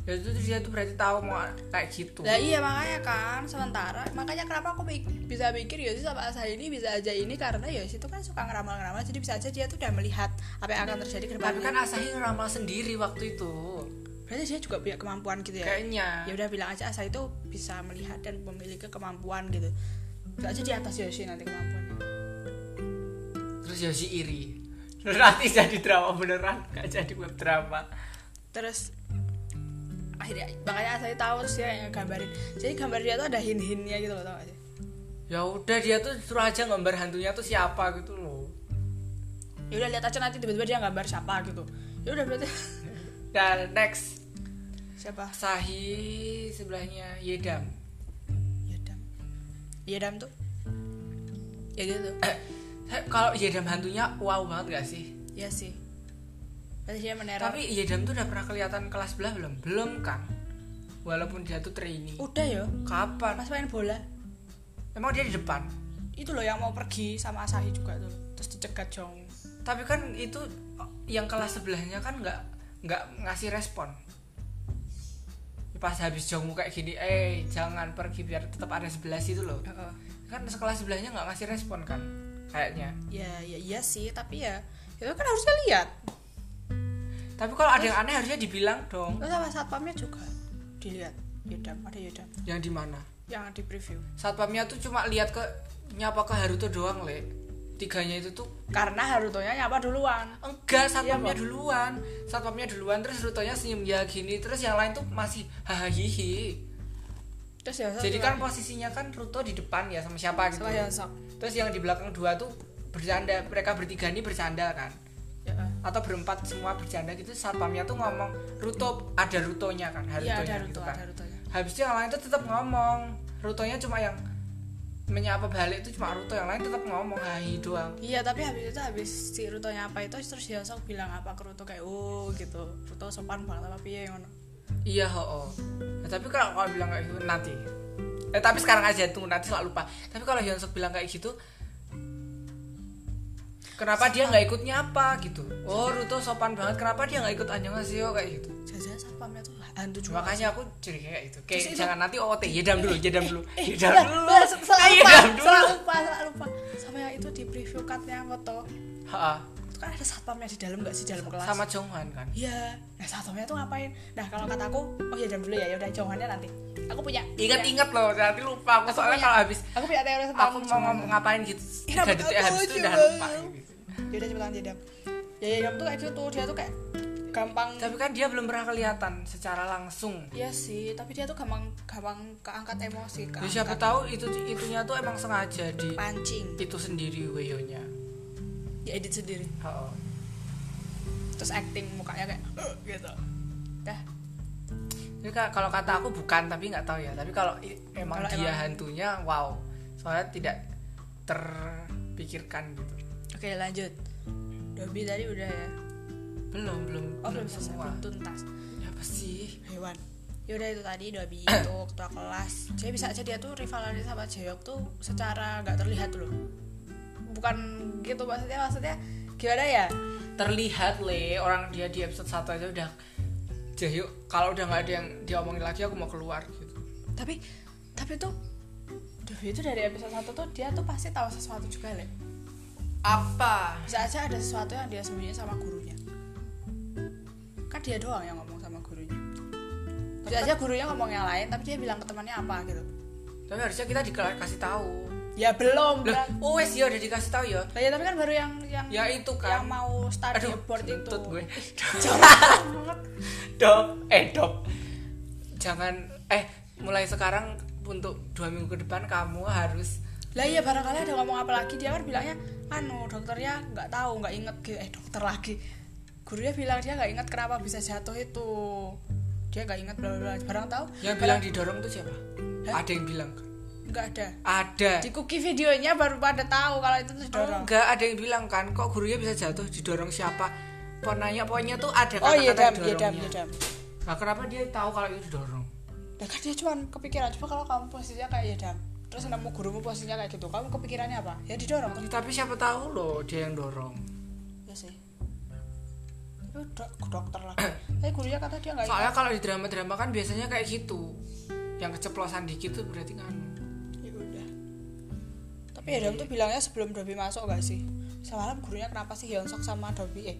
A: Ya itu tuh dia tuh berarti tahu mau kayak gitu.
B: Nah iya makanya kan sementara makanya kenapa aku mik- bisa mikir Yosi sama Asah ini bisa aja ini karena Yosi itu kan suka ngeramal-ngeramal jadi bisa aja dia tuh udah melihat apa yang akan terjadi ke
A: Tapi
B: depannya.
A: kan Asahi ramal sendiri waktu itu.
B: Berarti dia juga punya kemampuan gitu ya.
A: Kayaknya.
B: ya udah bilang aja saya itu bisa melihat dan memiliki kemampuan gitu itu aja di atas Yoshi nanti kemampuannya
A: Terus Yoshi iri. Terus nanti jadi drama beneran, gak jadi web drama.
B: terus akhirnya makanya saya tahu terus dia yang gambarin jadi gambar dia tuh ada hin hinnya gitu loh tau gak sih
A: Ya udah dia tuh suruh aja gambar hantunya tuh siapa gitu loh.
B: ya udah lihat aja nanti tiba-tiba dia gambar siapa gitu ya udah berarti
A: Dan next
B: siapa
A: Asahi sebelahnya Yedam.
B: Yadam Yadam tuh ya gitu
A: Eh, eh, kalau Yedam hantunya wow banget gak sih?
B: ya sih berarti dia meneror
A: Tapi Yedam tuh udah pernah kelihatan kelas belah belum? Belum kan? Walaupun dia tuh trainee.
B: udah yo
A: Kapan?
B: pas main bola
A: Emang dia di depan.
B: itu loh yang mau pergi sama Asahi juga tuh terus dicegat jong
A: Tapi kan itu yang kelas sebelahnya kan nggak nggak ngasih respon. Pas habis jongmu kayak gini, eh jangan pergi biar tetap ada sebelas itu loh.
B: Heeh.
A: Kan sekelas sebelahnya nggak ngasih respon kan? Kayaknya.
B: ya ya iya sih tapi ya itu kan harusnya lihat
A: Tapi kalau ada yang aneh harusnya dibilang dong.
B: terus sama satpamnya juga dilihat yudam ada yudam
A: Yang di mana?
B: yang di preview
A: Satpamnya tuh cuma lihat ke nyapa ke Haruto doang, Le. Tiganya itu tuh
B: karena Harutonya nyapa duluan
A: enggak satpamnya
B: Iya, Bang.
A: duluan. Satpamnya duluan terus Harutonya senyum ya gini, terus yang lain tuh masih hahihi.
B: terus ya
A: Jadi kan posisinya kan Ruto di depan ya sama siapa gitu.
B: setelah yang sok
A: Terus yang di belakang dua tuh bercanda, mereka bertiga ini bercanda kan.
B: ya, eh.
A: Atau berempat semua bercanda gitu satpamnya tuh ngomong Ruto ada Rutonya kan,
B: Iya,
A: Harutonya
B: ada
A: gitu
B: Haruto
A: kan.
B: ada Harutonya
A: Habis itu yang lain tuh tetap ngomong. Rutonya cuma yang menyapa balik itu cuma Ruto, yang lain tetap ngomong hai doang.
B: Iya tapi habis itu habis si Rutonya apa itu terus ya sok bilang apa ke Ruto kayak oh gitu Ruto sopan banget apa piye ngono
A: Iya, ho. Nah, tapi kalau kalau bilang kayak gitu nanti. Eh tapi sekarang aja tunggu nanti selalu lupa. Tapi kalau Hyunsuk bilang kayak gitu Kenapa dia nggak ikut nyapa gitu? Oh Ruto sopan banget. Kenapa dia nggak ikut Annyeonghaseyo kayak gitu?
B: jajan satpamnya tuh hantu juga
A: Makanya aku curiga kayak gitu. Kayak
B: Terus itu-
A: jangan nanti OOT. Jedam dulu, jedam dulu,
B: Eh,
A: jedam
B: udah,
A: dulu.
B: udah, sel- sel-
A: Eh,
B: lupa,
A: jedam
B: sel-
A: dulu.
B: lupa, sel- lupa. Sama yang itu di preview card-nya foto.
A: Ha-ha.
B: Itu kan ada satpamnya di dalam nggak sih dalam kelas?
A: Sama Jonghwan kan.
B: Iya. Nah, satpamnya tuh ngapain? Nah, kalau kata aku, oh ya jam dulu ya, ya udah jauhannya nanti. Aku punya. punya-
A: Ingat-ingat loh, nanti lupa aku soalnya
B: punya-
A: kalau habis
B: Aku punya teori
A: aku
B: satpam.
A: mau ngomong ngapain gitu
B: Ih,
A: tiga
B: rambut
A: detik
B: aku
A: habis itu udah
B: juga.
A: lupa. Gitu.
B: Ya udah cepetan jadam. Ya ya jam tuh kayak gitu, dia tuh kayak gampang.
A: Tapi kan dia belum pernah kelihatan secara langsung.
B: Iya sih, tapi dia tuh gampang gampang keangkat emosi,
A: Ya,
B: keangkat
A: siapa tahu itu itunya tuh emang sengaja di
B: pancing.
A: itu sendiri weyonya.
B: Ya edit sendiri.
A: Oh,
B: Terus acting mukanya kayak "Eh," gitu. Dah.
A: Jadi ka- kalau kata aku bukan tapi nggak tahu ya. Tapi kalau i- emang
B: Kalau
A: dia
B: emang-
A: hantunya wow. Soalnya tidak terpikirkan gitu.
B: Oke, lanjut. Dobi tadi udah ya.
A: Belum belum
B: Oh, belum selesai,
A: semua.
B: belum tuntas.
A: Ya apa sih?
B: Hewan. Yaudah itu tadi Dobi itu ketua kelas Jadi bisa aja dia tuh rivalannya sama Jeyok tuh secara nggak terlihat loh Bukan gitu maksudnya Maksudnya gimana ya
A: terlihat le orang dia di episode 1 aja udah Jahyuk kalau udah nggak ada yang diomongin lagi aku mau keluar gitu
B: Tapi tapi tuh Dobi itu dari episode 1 tuh dia tuh pasti tahu sesuatu juga Le
A: apa
B: Bisa aja ada sesuatu yang dia sembunyiin sama gurunya Kan dia doang yang ngomong sama gurunya Bisa aja gurunya ngomong yang lain tapi dia bilang ke temannya apa gitu
A: tapi harusnya kita dikasih tahu
B: Ya belum
A: lah
B: berarti.
A: oh wes ya udah dikasih tahu ya
B: Lah ya tapi kan baru yang yang
A: ya itu
B: yang
A: kan
B: mau study abroad itu.
A: kentut gue
B: Jorok banget.
A: dop eh dop jangan eh mulai sekarang untuk dua minggu ke depan kamu harus
B: Lah iya barangkali ada ngomong apa lagi dia kan bilangnya anu dokternya nggak tahu nggak inget gitu. eh dokter lagi gurunya bilang dia nggak inget kenapa bisa jatuh itu dia nggak inget bla bla bla. barang tahu
A: yang bilang didorong tuh siapa
B: Hah?
A: ada yang bilang
B: nggak ada
A: ada Oh,
B: di cookie videonya baru pada tahu kalau itu tuh didorong
A: enggak ada yang bilang kan kok gurunya bisa jatuh didorong siapa ponanya pokoknya tuh ada
B: oh iya
A: kata-kata
B: dam iya dam
A: didorongnya.
B: iya dam
A: Nah, kenapa dia tahu kalau itu didorong?
B: Lah kan dia cuman kepikiran coba kalau kamu posisinya kayak ya dam terus nemu gurumu posisinya kayak gitu kamu kepikirannya apa ya didorong
A: Ya, tapi siapa tahu loh dia yang dorong.
B: Iya sih. Tapi dok, dokter lagi. Tapi gurunya kata dia nggak
A: Soalnya kalau di drama-drama kan biasanya kayak gitu. Yang keceplosan dikit tuh berarti kan.
B: Ya udah. Tapi Adam tuh bilangnya sebelum Dobi masuk gak sih? Semalam gurunya kenapa sih Hyunsuk sama Dobi eh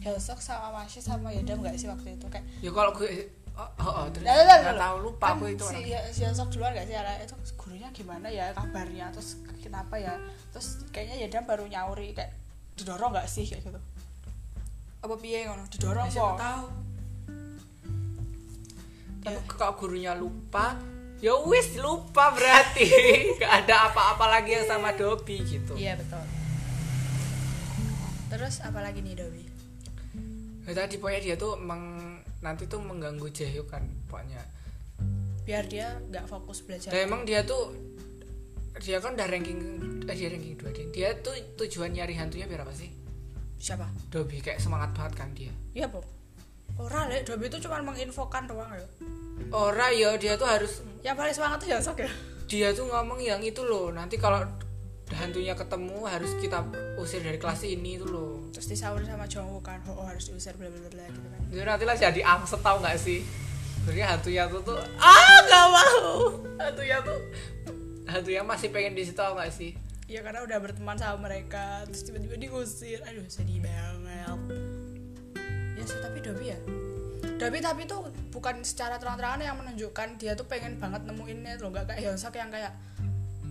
B: Hyunsuk sama Masih sama Yadam gak sih waktu itu kayak
A: Ya kalau gue oh, oh, oh, terus
B: Lah, lah, lah,
A: nggak
B: lah.
A: tahu lupa
B: kan
A: gue itu
B: si
A: orang.
B: Hy- si Hyunsuk duluan gak sih Ara? itu gurunya gimana ya kabarnya terus kenapa ya terus kayaknya Yadam baru nyauri kayak didorong gak sih kayak gitu apa piye ngono didorong
A: Ya, siapa Iya.
B: kok
A: tahu. Tapi kalau gurunya lupa, ya wis lupa berarti. Gak ada apa-apa lagi yang sama Dobi gitu.
B: iya betul terus apa lagi nih Dobi
A: Nah, tadi pokoknya dia tuh meng, nanti tuh mengganggu Jaehyuk kan pokoknya.
B: biar dia nggak fokus belajar
A: Dan emang dia tuh dia kan udah ranking eh, dia ranking 2 dia. Dia tuh tujuan nyari hantunya biar apa sih?
B: siapa
A: Dobby kayak semangat banget kan dia.
B: iya po orang lek Dobi itu cuma menginfokan doang ya
A: Ora ya dia tuh harus
B: yang paling semangat tuh Hyunsuk ya
A: dia tuh ngomong yang itu loh. Nanti kalau hantunya ketemu harus kita usir dari kelas ini tuh loh.
B: terus disaur sama Jongwoo kan oh, oh, harus diusir bla bla bla gitu kan
A: Jadi nanti lah jadi angset tau nggak sih? Sebenarnya hantunya tuh tuh ah nggak mau. Hantunya tuh hantunya masih pengen di situ tau nggak sih?
B: ya karena udah berteman sama mereka terus tiba-tiba diusir aduh sedih banget ya sih tapi Dobi ya Dobi tapi tuh bukan secara terang-terangan yang menunjukkan dia tuh pengen banget nemuinnya loh nggak kayak Hyunsuk yang kayak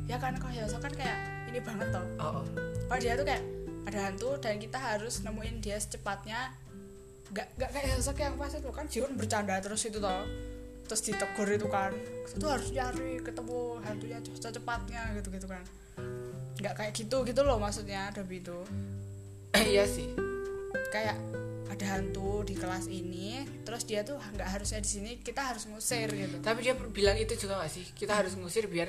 B: ya kan kalau Hyunsuk kan kayak ini banget toh
A: Oh, oh.
B: Kalau dia tuh kayak ada hantu dan kita harus nemuin dia secepatnya. Gak, gak kayak sosok yang pas itu kan Jiwon bercanda terus itu toh terus ditegur itu kan itu harus nyari ketemu hantunya secepatnya gitu gitu kan nggak kayak gitu gitu loh maksudnya Dobby itu
A: iya sih.
B: kayak ada hantu di kelas ini terus dia tuh nggak harusnya di sini kita harus ngusir gitu
A: Tapi dia bilang itu juga gak sih? Kita harus ngusir biar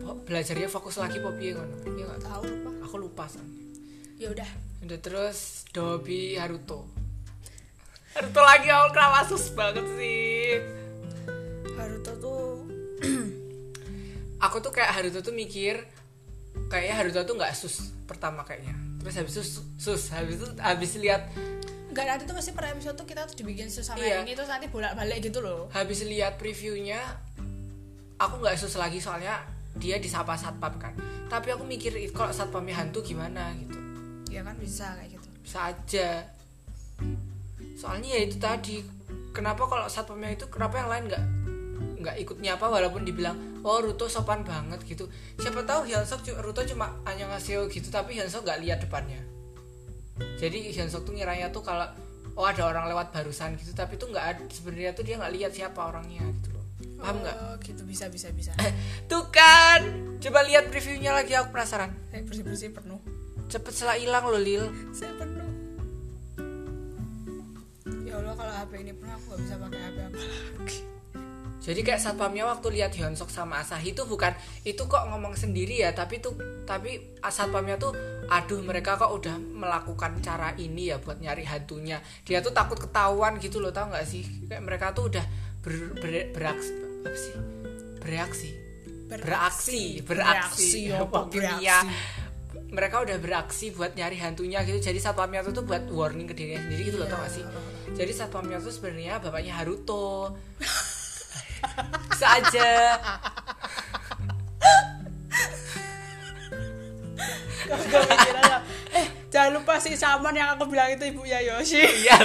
A: po- belajarnya fokus lagi po piye ngono. Iya nggak?
B: Ya, tahu lupa
A: Aku lupa soalnya.
B: ya udah
A: Udah terus Dobi Haruto. Haruto lagi awal kenapa sus banget sih?
B: Haruto tuh
A: Aku tuh kayak Haruto tuh mikir kayaknya Haruto tuh nggak sus pertama kayaknya. Terus habis itu sus, sus. habis itu habis lihat
B: nggak nanti tuh pasti per episode tuh kita tuh dibikin susah
A: Iya.
B: main ini terus nanti bolak balik gitu loh
A: habis lihat previewnya aku nggak sus lagi soalnya dia disapa satpam kan. Tapi aku mikir "Ih, kalau satpamnya hantu gimana gitu.
B: ya kan bisa kayak gitu
A: bisa aja soalnya ya itu tadi kenapa kalau satpamnya itu kenapa yang lain nggak nggak ikut nyapa walaupun dibilang oh Ruto sopan banget gitu siapa tahu Hyunsuk cu- Ruto cuma annyeonghaseyo gitu tapi Hyunsuk nggak lihat depannya jadi Hyunsuk tuh ngiranya tuh kalau oh ada orang lewat barusan gitu tapi tuh nggak ad- sebenarnya tuh dia nggak lihat siapa orangnya gitu loh paham nggak
B: Oh, gitu bisa bisa bisa
A: tuh kan coba lihat previewnya lagi aku penasaran
B: saya bersih bersih penuh
A: cepet setelah hilang loh Lil
B: saya penuh ya allah kalau hp ini penuh aku gak bisa pakai hp apa lagi
A: Jadi kayak satpamnya waktu lihat Hyunsuk sama Asahi itu bukan itu kok ngomong sendiri ya, tapi tuh tapi satpamnya tuh aduh mereka kok udah melakukan cara ini ya buat nyari hantunya. Dia tuh takut ketahuan gitu loh, tau nggak sih? Kayak mereka tuh udah ber, ber- beraks- apa sih? Bereaksi.
B: Beraksi.
A: Beraksi, beraksi.
B: Beraksi, apa
A: Pokoknya
B: beraksi?
A: Mereka udah beraksi buat nyari hantunya gitu. Jadi satpamnya tuh tuh buat warning ke dirinya sendiri gitu loh tau gak sih? Jadi satpamnya tuh sebenarnya bapaknya Haruto. Bisa aja.
B: Kamu gak mikirin lah. eh jangan lupa si Saman yang aku bilang itu ibunya Yoshi
A: Iya.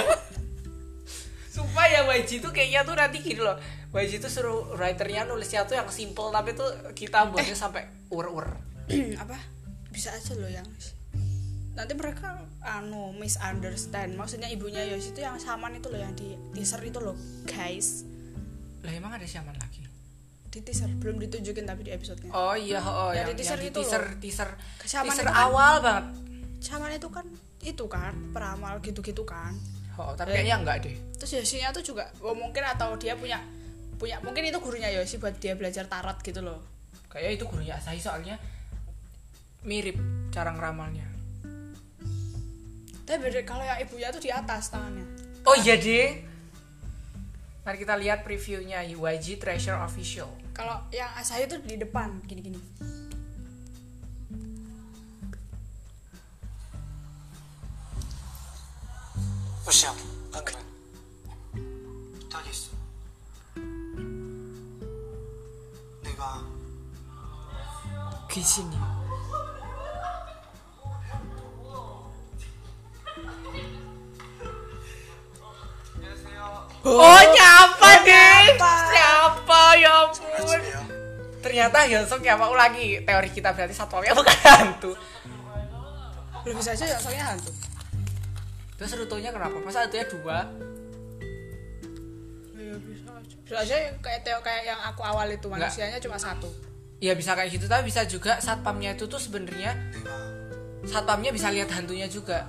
A: Sumpah ya YG tuh kayaknya tuh nanti gini loh. YG tuh suruh writernya nulisnya tuh yang simple tapi tuh kita buatnya sampai ur-ur.
B: apa bisa aja loh yang nanti mereka anu misunderstand maksudnya ibunya Yoshi itu yang Saman itu loh yang di teaser itu loh guys
A: Lah emang ada siaman lagi?
B: di teaser belum ditunjukin tapi di episode-nya
A: Oh iya, oh,
B: Yang
A: yang,
B: di teaser
A: yang di
B: itu
A: teaser,
B: loh.
A: teaser,
B: Kesamaan
A: teaser
B: itu kan.
A: awal banget.
B: Saman itu kan itu kan peramal gitu-gitu kan
A: Oh, tapi
B: Eh.
A: kayaknya enggak deh.
B: terus Yoshinya tuh juga oh, mungkin atau dia punya punya mungkin itu gurunya Yoshi buat dia belajar tarot gitu loh
A: Kayaknya itu gurunya Asahi soalnya mirip cara ngeramalnya.
B: tapi beda- kalau yang ibunya tuh di atas tangannya
A: Oh iya deh. Mari kita lihat previewnya YG Treasure Official.
B: kalau yang Asahi tuh di depan gini-gini
C: 으쌰, 안 아, 그래. 네. 저기 있어. 내가
A: 귀신이. Oh nyapa deh. Siapa ya ampun.
C: 집이야.
A: Ternyata Hyunsung nyapa ulangi teori kita berarti satpamnya bukan hantu.
B: lebih saja ya soalnya hantu
A: Terus rutenya kenapa? Masa rutenya dua?
B: ya, bisa aja bisa aja kayak teo kayak yang aku awal itu
A: Nggak.
B: manusianya cuma satu
A: Ya bisa kayak gitu, tapi bisa juga satpamnya itu tuh sebenarnya satpamnya bisa lihat hantunya juga.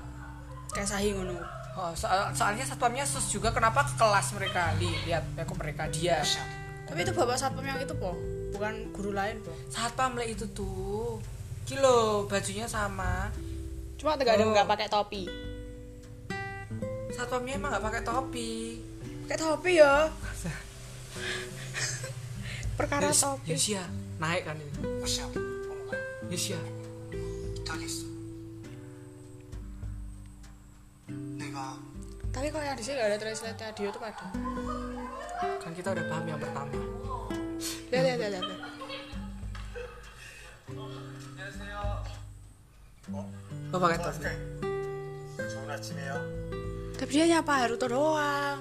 B: kayak Sahi ngono
A: Oh, soal- soalnya satpamnya sus juga kenapa ke kelas mereka Li, lihat kok mereka dia.
C: 으쌰.
B: tapi itu bapak satpam yang itu po bukan guru lain po
A: Satpam Le itu tuh. Kilo bajunya sama.
B: cuma tegak ada
A: Oh.
B: nggak pakai topi
A: Satpamnya emang nggak pakai topi.
B: pakai topi ya perkara
A: Yus-
B: topi
A: Yusia naik kan ya. itu.
C: 으쌰, 안 그래.
A: Yusia.
C: 저기 있어. 내가
B: tapi kalau yang di sini nggak ada translate dia tuh pada
A: Kan kita udah paham yang pertama.
B: lihat lihat lihat lihat
A: Oh, pakai topi.
C: 네, 좋은 아침이에요.
B: tapi dia nyapa Haruto doang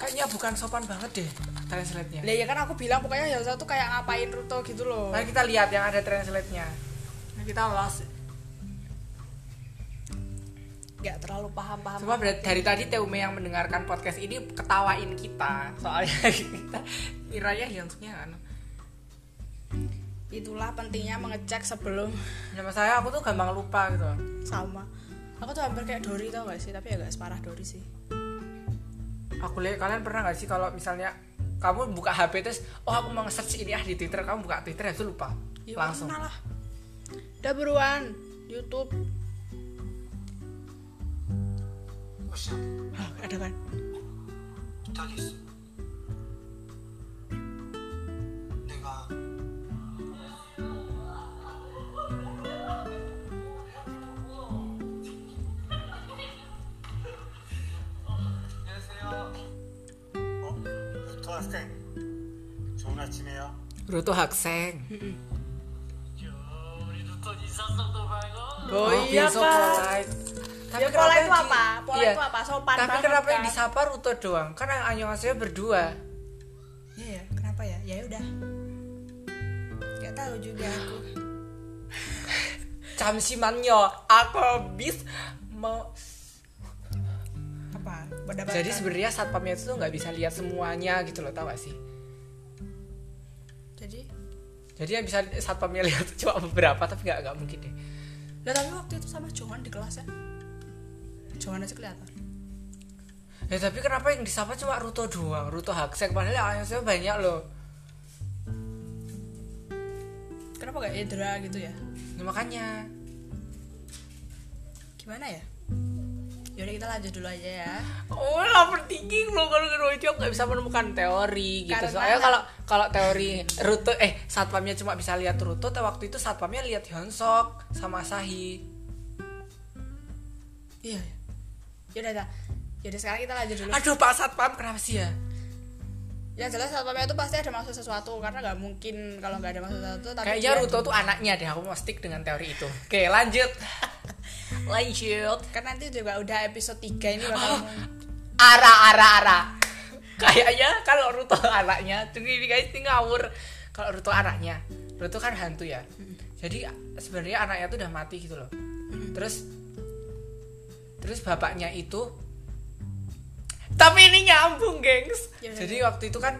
A: Kayaknya bukan sopan banget deh translate-nya.
B: Lah ya kan aku bilang pokoknya Yakuza tuh kayak ngapain Ruto gitu loh.
A: Mari kita lihat yang ada translate-nya. Nah, kita lost.
B: Gak terlalu paham-paham.
A: Semua ber- dari tadi Teume yang mendengarkan podcast ini ketawain kita. Soalnya kita kiranya Hyunsuknya kan.
B: Itulah pentingnya mengecek sebelum
A: Nama Ya, saya aku tuh gampang lupa gitu.
B: sama. Aku tuh hampir kayak Dori tau gak sih, tapi ya gak separah Dori sih.
A: Aku lihat kalian pernah nggak sih kalau misalnya kamu buka HP terus oh aku mau nge-search ini ah di Twitter kamu buka Twitter habis itu lupa
B: Ya,
A: langsung
B: pernah lah. Udah buruan YouTube.
C: 으쌰,
B: Hah, ada kan?
C: 저기 있어. 내가 안녕하세요. 어? 토 학생. 좋은 아침이에요.
A: Ruto Hakseng
B: Oh, iya
A: Hyunsuk
B: pak.
A: polite.
B: Ya
A: kenapa
B: pola itu
A: yang di-
B: apa? Pola
A: Iya.
B: itu apa? Sopan
A: Tapi
B: banget,
A: kenapa yang
B: kan?
A: disapa Ruto doang? Kan yang Anyonghaseyo berdua.
B: Iya, ya. kenapa ya? Ya udah. Gak tahu juga aku.
A: Camsimanyo, aku habis mau
B: Apa? Pendapatan.
A: Jadi sebenarnya satpamnya itu tuh nggak bisa lihat semuanya gitu loh, tau gak sih?
B: Jadi
A: Jadi yang bisa satpamnya lihat tuh cuma beberapa, tapi nggak nggak mungkin deh.
B: Lah tapi waktu itu sama Johan di kelas ya. Johan aja kelihatan.
A: Ya tapi kenapa yang disapa cuma Ruto doang, Ruto Haksek padahal yang Anyonghaseyo banyak loh.
B: Kenapa gak Edra gitu ya?
A: Nah, makanya
B: Gimana ya? Yaudah kita lanjut dulu aja ya.
A: Oh, overthinking loh kalau Rojo nggak bisa menemukan teori gitu.
B: Karena-
A: Soalnya kalau kalau teori rute eh satpamnya cuma bisa lihat rute, tapi waktu itu satpamnya lihat Hyunsok sama Sahi.
B: Iya. Yaudah, dah. Yaudah sekarang kita lanjut dulu.
A: Aduh Pak Satpam kenapa sih ya?
B: Yang jelas satpamnya itu pasti ada maksud sesuatu karena nggak mungkin kalau nggak ada maksud sesuatu. Tapi
A: Kayaknya
B: dia-
A: Ruto tuh anaknya deh. Aku mau stick dengan teori itu. Oke lanjut. lanjut.
B: Kan nanti juga udah episode 3 ini
A: Ah.
B: bakal
A: Ara ara ara. Kayaknya kalau Ruto anaknya, tuh ini guys ini ngawur. Kalau Ruto anaknya, Ruto kan hantu ya. Jadi sebenarnya anaknya tuh udah mati gitu loh. Terus terus bapaknya itu tapi ini nyambung, gengs.
B: Ya, ya,
A: Jadi waktu itu kan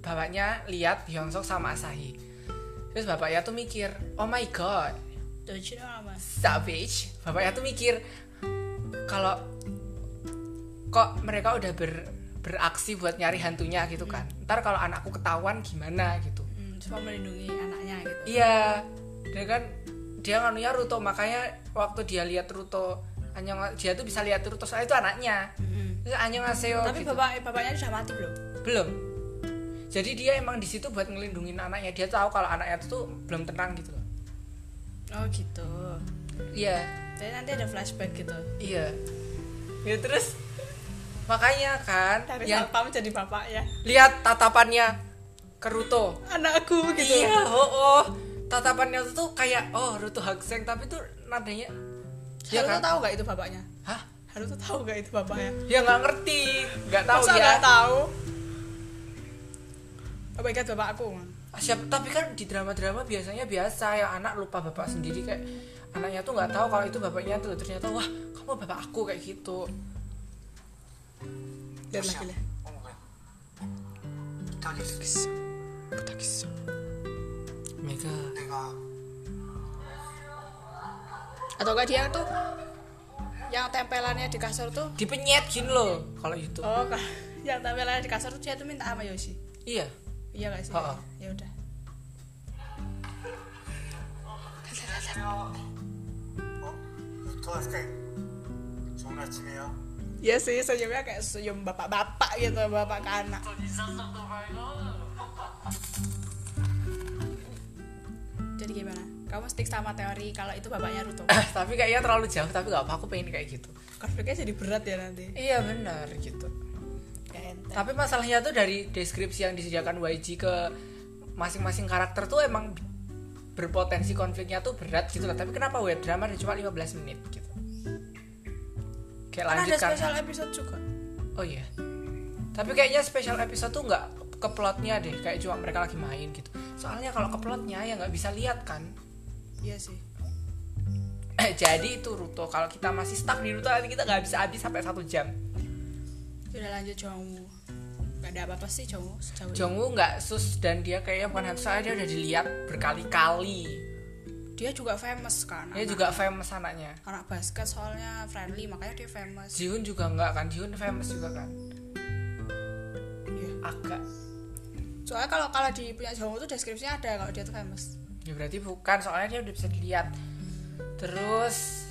A: bapaknya lihat Hyunsok sama Asahi. Terus bapaknya tuh mikir, "Oh my god,
B: Dojin apa?
A: savage bapaknya tuh mikir kalau kok mereka udah ber- beraksi buat nyari hantunya gitu kan ntar kalau anakku ketahuan gimana gitu
B: Hmm, cuma melindungi anaknya gitu.
A: iya dia kan dia nganunya Ruto makanya waktu dia lihat Ruto Anyong- dia tuh bisa lihat Ruto soalnya itu anaknya
B: Mm-mm.
A: terus Annyeonghaseyo
B: Tapi
A: gitu.
B: bapak bapaknya sudah mati belum?
A: belum jadi dia emang di situ buat ngelindungin anaknya dia tahu kalau anaknya tuh belum tenang gitu loh
B: Oh gitu.
A: iya
B: Jadi nanti ada flashback gitu.
A: Iya. Ya terus makanya kan
B: Tapi
A: yang
B: satpam jadi bapak ya.
A: lihat tatapannya ke Ruto.
B: Anakku gitu.
A: Iya, oh, oh. Tatapannya itu tuh kayak oh Ruto Hagseng tapi tuh nadanya Iya
B: Haruto
A: kan?
B: tahu nggak itu bapaknya?
A: Hah?
B: Haruto tahu nggak itu bapaknya?
A: Ya nggak ngerti, nggak tahu
B: Masa
A: ya.
B: nggak tahu? Oh my god bapak aku.
A: Siap, tapi kan di drama-drama biasanya biasa ya anak lupa bapak sendiri kayak anaknya tuh nggak tahu kalau itu bapaknya tuh ternyata wah kamu bapak aku kayak gitu.
B: Lihat
C: 요시야,
B: lagi lah.
C: 어머 뭐야. 부탁했어.
A: Butakis. Mega.
C: 내가
B: Atau nggak dia tuh yang tempelannya di kasur tuh?
A: Dipenyet gini loh kalau gitu. YouTube.
B: Oh, ka- yang tempelannya di kasur tuh dia tuh minta sama Yoshi.
A: Iya.
B: Iya nggak sih?
A: Ha-ha.
B: Ya udah.
C: 안녕하세요. 어? 부탁할게. 좋은 아침이에요.
B: Iya sih senyumnya kayak senyum bapak-bapak gitu bapak ke anak. Jadi gimana? Kamu stick sama teori kalau itu bapaknya Ruto.
A: tapi kayaknya terlalu jauh tapi nggak apa aku pengen kayak gitu
B: Konfliknya jadi berat ya nanti.
A: iya benar gitu
B: Gak enteng.
A: tapi masalahnya tuh dari deskripsi yang disediakan YG ke masing-masing karakter tuh emang berpotensi konfliknya tuh berat gitu lah tapi kenapa web drama dia cuma 15 menit gitu kayak
B: Kan ada
A: lanjut kan
B: spesial episode juga.
A: oh iya tapi kayaknya special episode tuh nggak ke plotnya deh kayak cuma mereka lagi main gitu soalnya kalau ke plotnya ya nggak bisa lihat kan
B: Iya sih.
A: jadi itu Ruto kalau kita masih stuck di Ruto nanti kita nggak bisa habis sampai satu jam
B: Sudah lanjut Jongwoo. Gak ada apa-apa sih Jongwoo sejauh ini.
A: Jongwoo nggak sus dan dia kayaknya bukan hantu soalnya dia udah dilihat berkali-kali.
B: Dia juga famous kan.
A: Dia
B: anak-
A: juga famous anaknya.
B: anak basket soalnya friendly makanya dia famous.
A: Jihoon juga nggak kan? Jihoon famous juga kan?
B: Iya.
A: Agak.
B: Soalnya kalau kalau di punya Jongwoo tuh deskripsinya ada kalau dia tuh famous.
A: Ya berarti bukan soalnya dia udah bisa dilihat. Terus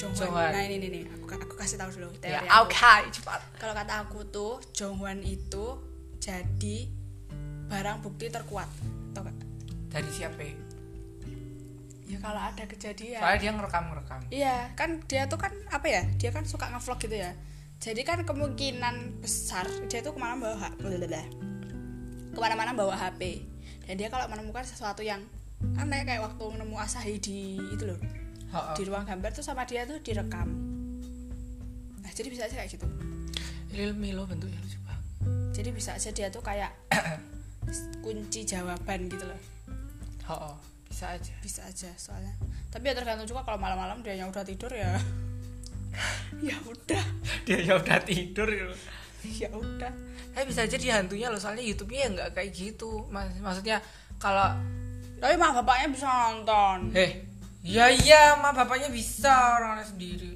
A: Jonghwan.
B: Jonghwan. Nah ini nih, nih. Aku, aku kasih tahu dulu teori
A: ya
B: aku.
A: oke cepat.
B: Kalau kata aku tuh Jonghwan itu jadi barang bukti terkuat. Tau gak?
A: Dari siapa? ya?
B: Ya kalau ada kejadian.
A: Soalnya dia ngerekam ngerekam.
B: Iya, kan dia tuh kan apa ya? Dia kan suka ngevlog gitu ya. Jadi kan kemungkinan besar dia tuh kemana bawa HP, kemana-mana bawa HP. Dan dia kalau menemukan sesuatu yang aneh kayak waktu nemu Asahi di itu loh,
A: Ha-ha.
B: di ruang gambar tuh sama dia tuh direkam. Nah, jadi bisa aja kayak gitu.
A: Lil Milo bentuknya lucu banget.
B: Jadi bisa aja dia tuh kayak kunci jawaban gitu loh.
A: Ha-ha. Bisa aja.
B: Bisa aja soalnya. Tapi ya tergantung juga kalau malam-malam dia yang udah tidur ya. ya udah.
A: Dia ya udah tidur. gitu.
B: ya udah
A: Tapi Eh, bisa aja dia hantunya loh soalnya YouTube-nya ya nggak kayak gitu. Mas- maksudnya kalau
B: tapi mah bapaknya bisa nonton
A: Eh, iya iya, ma bapaknya bisa orangnya sendiri.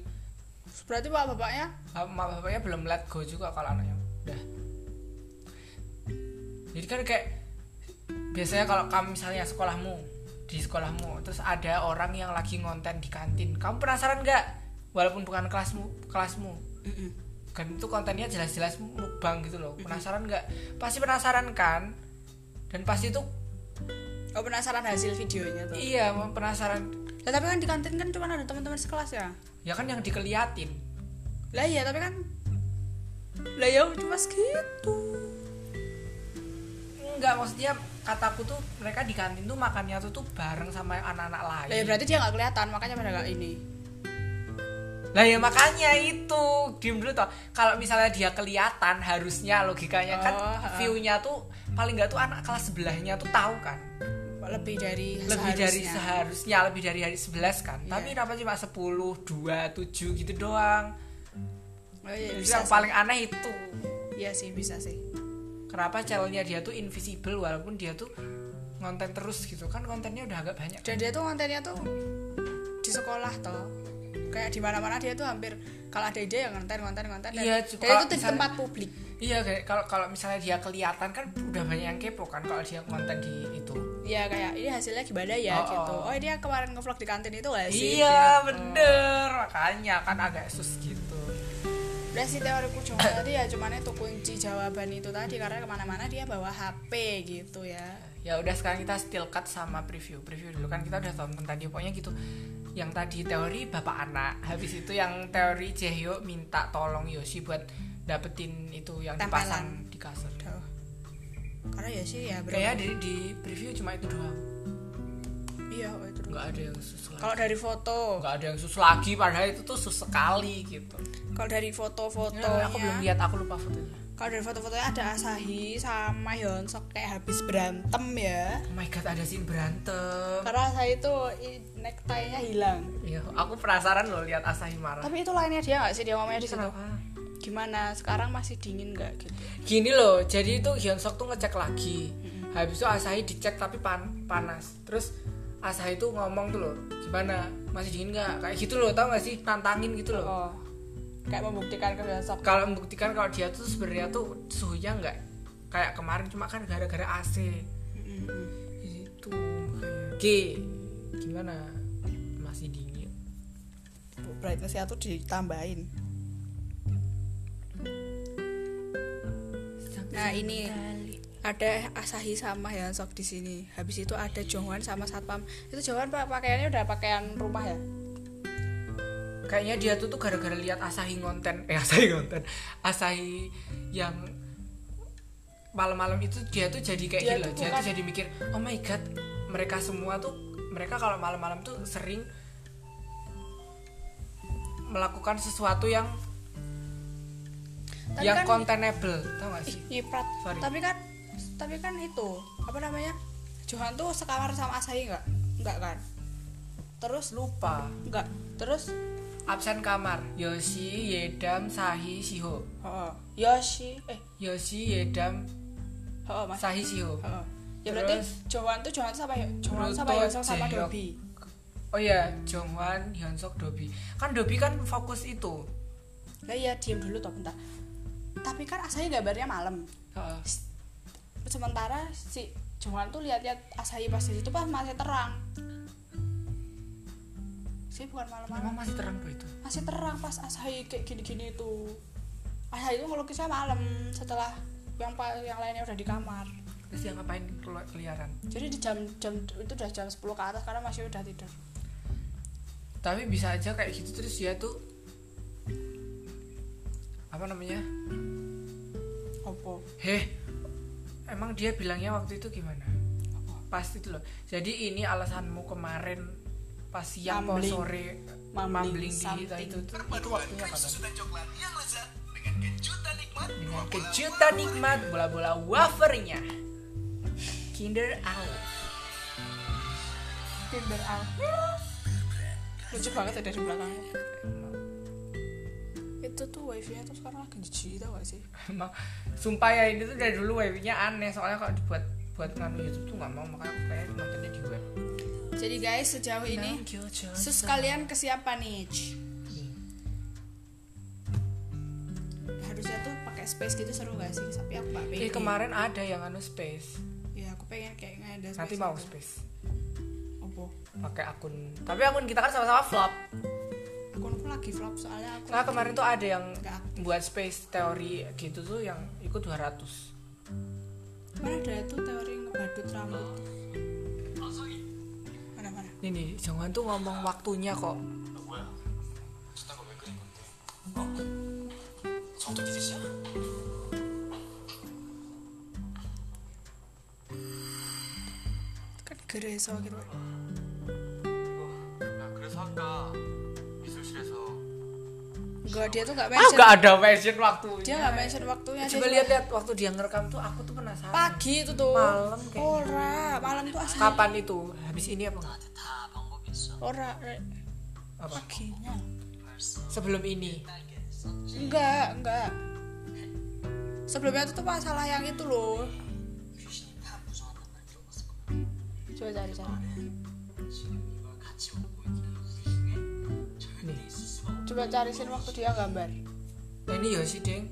B: berarti pak bapaknya
A: Ba- Ma bapaknya belum let go juga kalau anaknya udah. Jadi kan kayak biasanya kalau kamu misalnya sekolahmu di sekolahmu terus ada orang yang lagi ngonten di kantin, kamu penasaran nggak? walaupun bukan kelasmu kelasmu
B: Mm-mm.
A: kan itu kontennya jelas-jelas mukbang gitu loh penasaran nggak pasti penasaran kan dan pasti itu
B: oh penasaran hasil videonya tuh
A: iya penasaran
B: Lah, tapi kan di kantin kan cuma ada teman-teman sekelas ya
A: ya kan yang dikeliatin
B: lah iya tapi kan lah ya cuma segitu
A: nggak maksudnya kataku tuh mereka di kantin tuh makannya tuh tuh bareng sama anak-anak lain
B: lah ya berarti dia nggak kelihatan makanya pada nggak ini
A: Lah ya makanya itu diem dulu toh. Kalau misalnya dia kelihatan harusnya logikanya kan
B: Oh, ha.
A: view-nya tuh paling nggak tuh anak kelas sebelahnya tuh tahu kan.
B: lebih dari
A: Lebih dari
B: seharusnya.
A: seharusnya lebih dari hari 11 kan.
B: Iya.
A: Tapi kenapa cuma 10, 2, 7 gitu doang.
B: oh, iya,
A: Itu
B: bisa
A: yang paling aneh itu.
B: sih. iya sih bisa sih
A: Kenapa channelnya dia tuh invisible walaupun dia tuh ngonten terus gitu kan kontennya udah agak banyak.
B: dan dia tuh kontennya tuh di sekolah toh kayak di mana mana dia tuh hampir kalau ada ide ya yang konten konten konten dan,
A: Iya,
B: dan
A: juga
B: itu di
A: misalnya-
B: tempat publik
A: Iya kayak kalau kalau misalnya dia kelihatan kan udah banyak yang kepo kan kalau dia konten di itu.
B: ya kayak ini hasilnya gimana
A: Oh,
B: ya
A: oh.
B: gitu oh dia kemarin ngevlog di kantin itu gak sih
A: Iya
B: Gitu.
A: bener Makanya kan agak sus gitu
B: udah sih teoriku cuma tadi ya cuman itu kunci jawaban itu tadi karena kemana-mana dia bawa HP gitu ya
A: Ya udah sekarang kita still cut sama preview Preview dulu kan kita udah tonton tadi Pokoknya gitu Yang tadi teori bapak anak Habis itu yang teori Jehyo minta tolong Yoshi buat dapetin itu yang dipasang
B: Tempelan.
A: di kasur
B: Duh. karena ya sih ya bro
A: Kayaknya di, di preview cuma itu doang
B: iya oh, itu dulu.
A: Nggak ada yang sus lagi
B: kalau dari foto
A: Nggak ada yang sus lagi Padahal itu tuh sus sekali gitu
B: kalau dari ya. foto-fotonya
A: Aku belum lihat, aku lupa fotonya
B: kalau dari foto-fotonya ada Asahi sama Hyunsuk kayak habis berantem ya
A: Oh my god ada scene berantem
B: karena saya itu i- necktie-nya hilang
A: Iya, aku penasaran loh lihat Asahi marah
B: tapi itu lainnya dia nggak sih dia ngomongnya di situ
A: Kenapa?
B: gimana sekarang masih dingin nggak gitu
A: gini loh jadi itu Hyun Sok tuh ngecek lagi habis itu Asahi dicek tapi pan panas terus Asahi tuh ngomong tuh loh gimana masih dingin nggak kayak gitu loh tau gak sih tantangin gitu loh
B: oh kayak membuktikan ke Hyunsuk
A: kalau membuktikan kalau dia tuh sebenarnya tuh suhunya nggak kayak kemarin cuma kan gara-gara AC
B: Mm-hmm.
A: itu Ki gimana masih dingin
B: brightness-nya tuh ditambahin Nah ini ada Asahi sama Hyunsuk di sini. Habis itu ada Jongwan sama Satpam. Itu Jongwan pak- pakaiannya udah pakaian rumah ya?
A: kayaknya dia tuh tuh gara-gara lihat Asahi ngonten eh Asahi ngonten Asahi yang malam-malam itu dia tuh jadi kayak
B: Dia
A: gila
B: tuh
A: dia tuh
B: bukan-
A: jadi mikir oh my god mereka semua tuh mereka kalau malam-malam tuh sering melakukan sesuatu yang
B: Tapi
A: yang
B: kan-
A: containable tau gak
B: Ih,
A: sih
B: nyiprat.
A: Sorry.
B: Tapi kan tapi kan itu apa namanya? Johan tuh sekamar sama Asahi nggak? Nggak kan? Terus
A: lupa
B: nggak? Terus
A: absen kamar Yoshi Yedam Sahi Shiho
B: oh, Yoshi eh
A: Yoshi Yedam
B: oh, Mas.
A: Sahi Shiho
B: Oh. Ya berarti
A: Terus?
B: Johan tuh Johan sama Johan sama
A: Ruto,
B: Hyunsuk sama
A: Jaehyuk.
B: Dobi.
A: Oh iya, Jongwan, Hyunsuk, Dobi. Kan Dobi kan fokus itu.
B: Lah iya diam dulu toh bentar. Tapi kan Asahi gambarnya malam.
A: Heeh.
B: sementara si Johan tuh lihat-lihat Asahi pas di situ pas masih terang sih bukan
A: Emang
B: malam-malam
A: masih terang tuh itu.
B: masih terang pas Asahi kayak gini-gini itu Asahi itu ngelukisnya malam setelah yang pa- yang lainnya udah di kamar
A: Terus dia ngapain keluar keliaran?
B: jadi di jam jam itu udah jam 10 ke atas karena masih udah tidur
A: Tapi bisa aja kayak gitu terus dia tuh apa namanya?
B: opo
A: Heh. Emang dia bilangnya waktu itu gimana? Pasti itu loh. Jadi ini alasanmu kemarin pas siang atau
B: Mumbling.
A: sore
B: Mumbling
A: mambling di kita
B: something.
A: itu
C: Kan
A: tuh itu waktunya kapan?
C: susunan coklat yang lezat dengan kejutan nikmat
A: Dengan kejutan nikmat bola-bola wafernya. Kinder Owl.
B: Tinder al lucu banget ya dari belakang itu tuh wifi nya tuh sekarang lagi jijik tau gak sih
A: emang sumpah ya ini tuh dari dulu webnya aneh soalnya kalau dibuat buat nganu YouTube tuh nggak mau makanya aku pengen nontonnya di web
B: jadi guys sejauh ini Sus kalian kesiapan nih. Harusnya tuh pakai space gitu seru gak sih? Tapi aku gak pengen.
A: eh kemarin ada yang anu space
B: Ya aku pengen kayak nggak ada space. gitu.
A: nanti mau space
B: Opo.
A: pakai akun tapi akun kita kan sama-sama flop
B: Akunku lagi flop soalnya aku
A: Nah kemarin tuh ada yang
B: Nggak aktif.
A: buat space teori gitu tuh yang ikut 200
B: Kemarin ada tuh teori ngebadut rambut mana mana
A: Nih nih, jangan tuh ngomong waktunya kok
C: 쓰다가 왜 그린 건데? 어? 성적 기대시야?
B: kan gereso gitu
C: 나 그래서 아까 미술실에서
B: enggak dia tuh nggak
A: Ah
B: mention
A: gak ada mention waktunya
B: dia nggak mention waktunya dia
A: Coba
B: cuma-
A: lihat-lihat waktu dia ngerekam tuh aku tuh penasaran
B: pagi itu tuh
A: Malam kayaknya.
B: ora malam tuh asli
A: Kapan itu? Habis ini apa? enggak?
C: 다 방법이 있어
B: ora Rek.
A: Apa?
B: paginya
A: Sebelum ini
B: enggak enggak sebelumnya itu tuh masalah yang itu loh
C: 귀신이 다 무서웠단 말 들어봤을 거야
B: coba cari cari
C: 지금 이걸 같이 먹고 있는 우리 중에 절대
A: 네.
C: 있을 수가 없어
B: coba cari scene waktu dia gambar
A: Nah ini Yoshi deng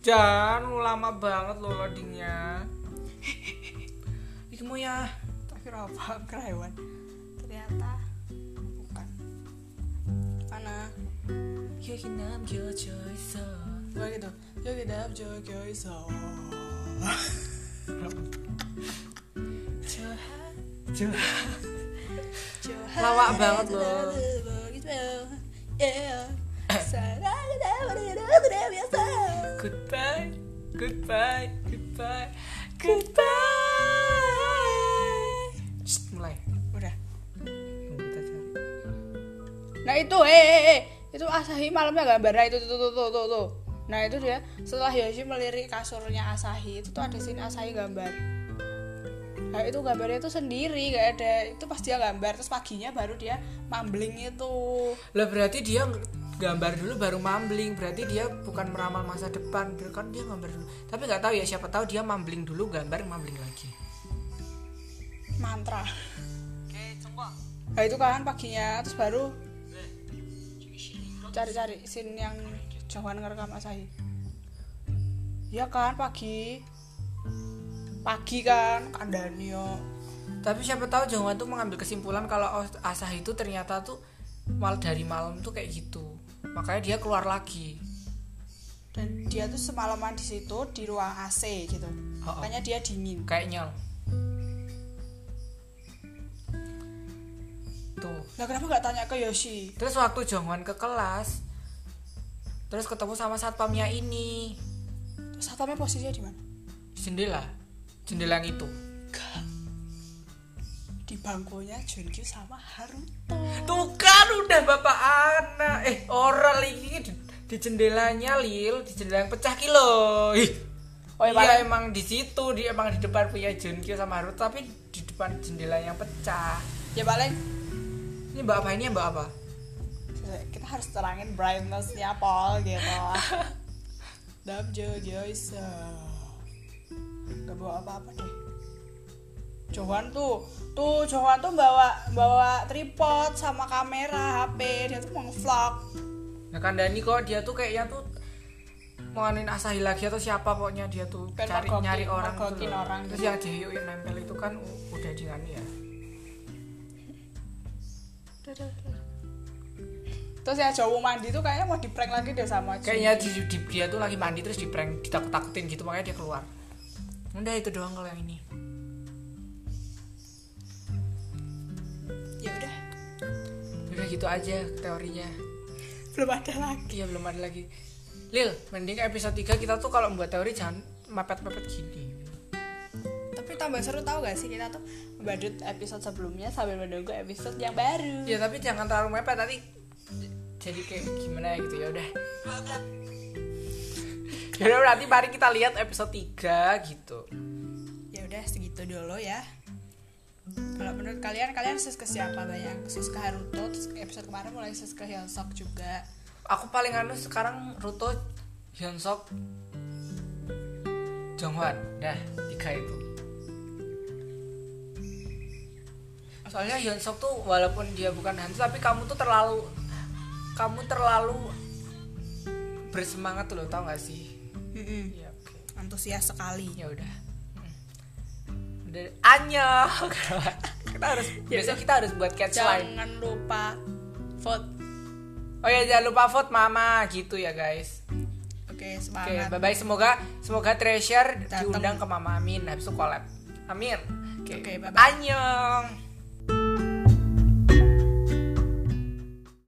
A: Dan lu lama banget lo loadingnya Iki mau ya
B: tapi apa kerewan ternyata bukan mana
A: Yokinam Yojoiso
B: gue gitu yo gitu yo yo iso
A: Ya. Lawak banget loh. Goodbye Goodbye Goodbye Goodbye Shh, Mulai
B: udah
A: Kita cari
B: nah itu eh eh, eh. itu Asahi malamnya gambar nah itu tuh tuh tuh tuh tuh nah itu dia setelah Yoshi melirik kasurnya Asahi itu tuh ada sini Asahi gambar nah itu gambarnya itu sendiri gak ada itu pas dia gambar terus paginya baru dia mumbling itu
A: Lah berarti dia gambar dulu baru mumbling berarti dia bukan meramal masa depan dia kan dia gambar dulu tapi nggak tahu ya siapa tahu dia mumbling dulu gambar mumbling lagi
B: mantra
C: 오케이 통과
B: nah itu kan paginya terus baru cari-cari scene yang Johan ngerekam Asahi ya kan pagi pagi kan kandani yo
A: tapi siapa tahu Jongwan tuh mengambil kesimpulan kalau oh, Asah itu ternyata tuh mal dari malam tuh kayak gitu makanya dia keluar lagi
B: dan dia tuh semalaman di situ di ruang AC gitu
A: Oh, oh.
B: makanya dia dingin
A: kayaknya tuh
B: nah kenapa nggak tanya ke Yoshi
A: terus waktu Jongwan ke kelas terus ketemu sama satpamnya ini
B: terus satpamnya posisinya di mana
A: jendela jendela yang itu
B: Gak. di bangkunya Junkyu sama Haruto
A: Tuh kan udah bapak anak Eh orang ini di, di jendelanya Lil Di jendela yang pecah kilo Ih.
B: Oh, iya,
A: Iya
B: Pak.
A: emang di situ Dia emang di depan punya Junkyu sama Haru Tapi di depan jendela yang pecah
B: ya paling
A: Ini mbak apa ini ya, mbak apa?
B: kita harus terangin brightnessnya Paul gitu Damjo Joyce gak bawa apa-apa deh Johan tuh tuh Johan tuh bawa bawa tripod sama kamera HP dia tuh mau vlog
A: Nah kan Dani kok dia tuh kayaknya tuh mau anuin Asahi lagi atau siapa pokoknya dia tuh
B: Kan
A: cari
B: mergokin-
A: nyari orang
B: mergokin
A: loh.
B: orang
A: terus
B: gitu.
A: yang Jehyo yang nempel itu kan u- udah di anu ya
B: terus ya Jowo mandi tuh kayaknya mau di prank lagi deh sama Jun.
A: kayaknya di, di- dia tuh lagi mandi terus di prank ditakut takutin gitu makanya dia keluar udah itu doang kalau yang ini
B: ya udah
A: Udah gitu aja teorinya
B: belum ada lagi
A: Iya belum ada lagi Lil, mending episode 3 kita tuh kalau buat teori jangan mepet-mepet gini
B: tapi tambah seru tau gak sih kita tuh badut episode sebelumnya sambil menunggu episode yang baru
A: Ya tapi jangan terlalu mepet nanti jadi kayak gimana gitu ya udah Ya udah nanti mari kita lihat episode 3 gitu
B: ya udah segitu dulu ya kalau menurut kalian kalian sus ke siapa banyak sus ke Haruto terus episode kemarin mulai sus ke Hyunsuk juga
A: Aku paling anu sekarang Ruto, Hyunsok, Jonghwan Nah, tiga itu Soalnya Hyunsok tuh walaupun dia bukan hantu Tapi kamu tuh terlalu Kamu terlalu Bersemangat tuh loh, tau gak sih?
B: Mm-mm.
A: Ya, oke
B: antusias sekali
A: Ya udah Hmm. Udah, Annyeong. kita harus
B: Ya
A: besok
B: udah.
A: kita harus buat catchline
B: jangan lupa vote.
A: Oh ya jangan lupa vote mama gitu ya guys.
B: Oke,
A: Oke,
B: semangat.
A: bye bye semoga semoga Treasure
B: Dateng.
A: diundang ke Mama Amin habis itu collab. Amin.
B: Oke, bye-bye.
A: Annyeong.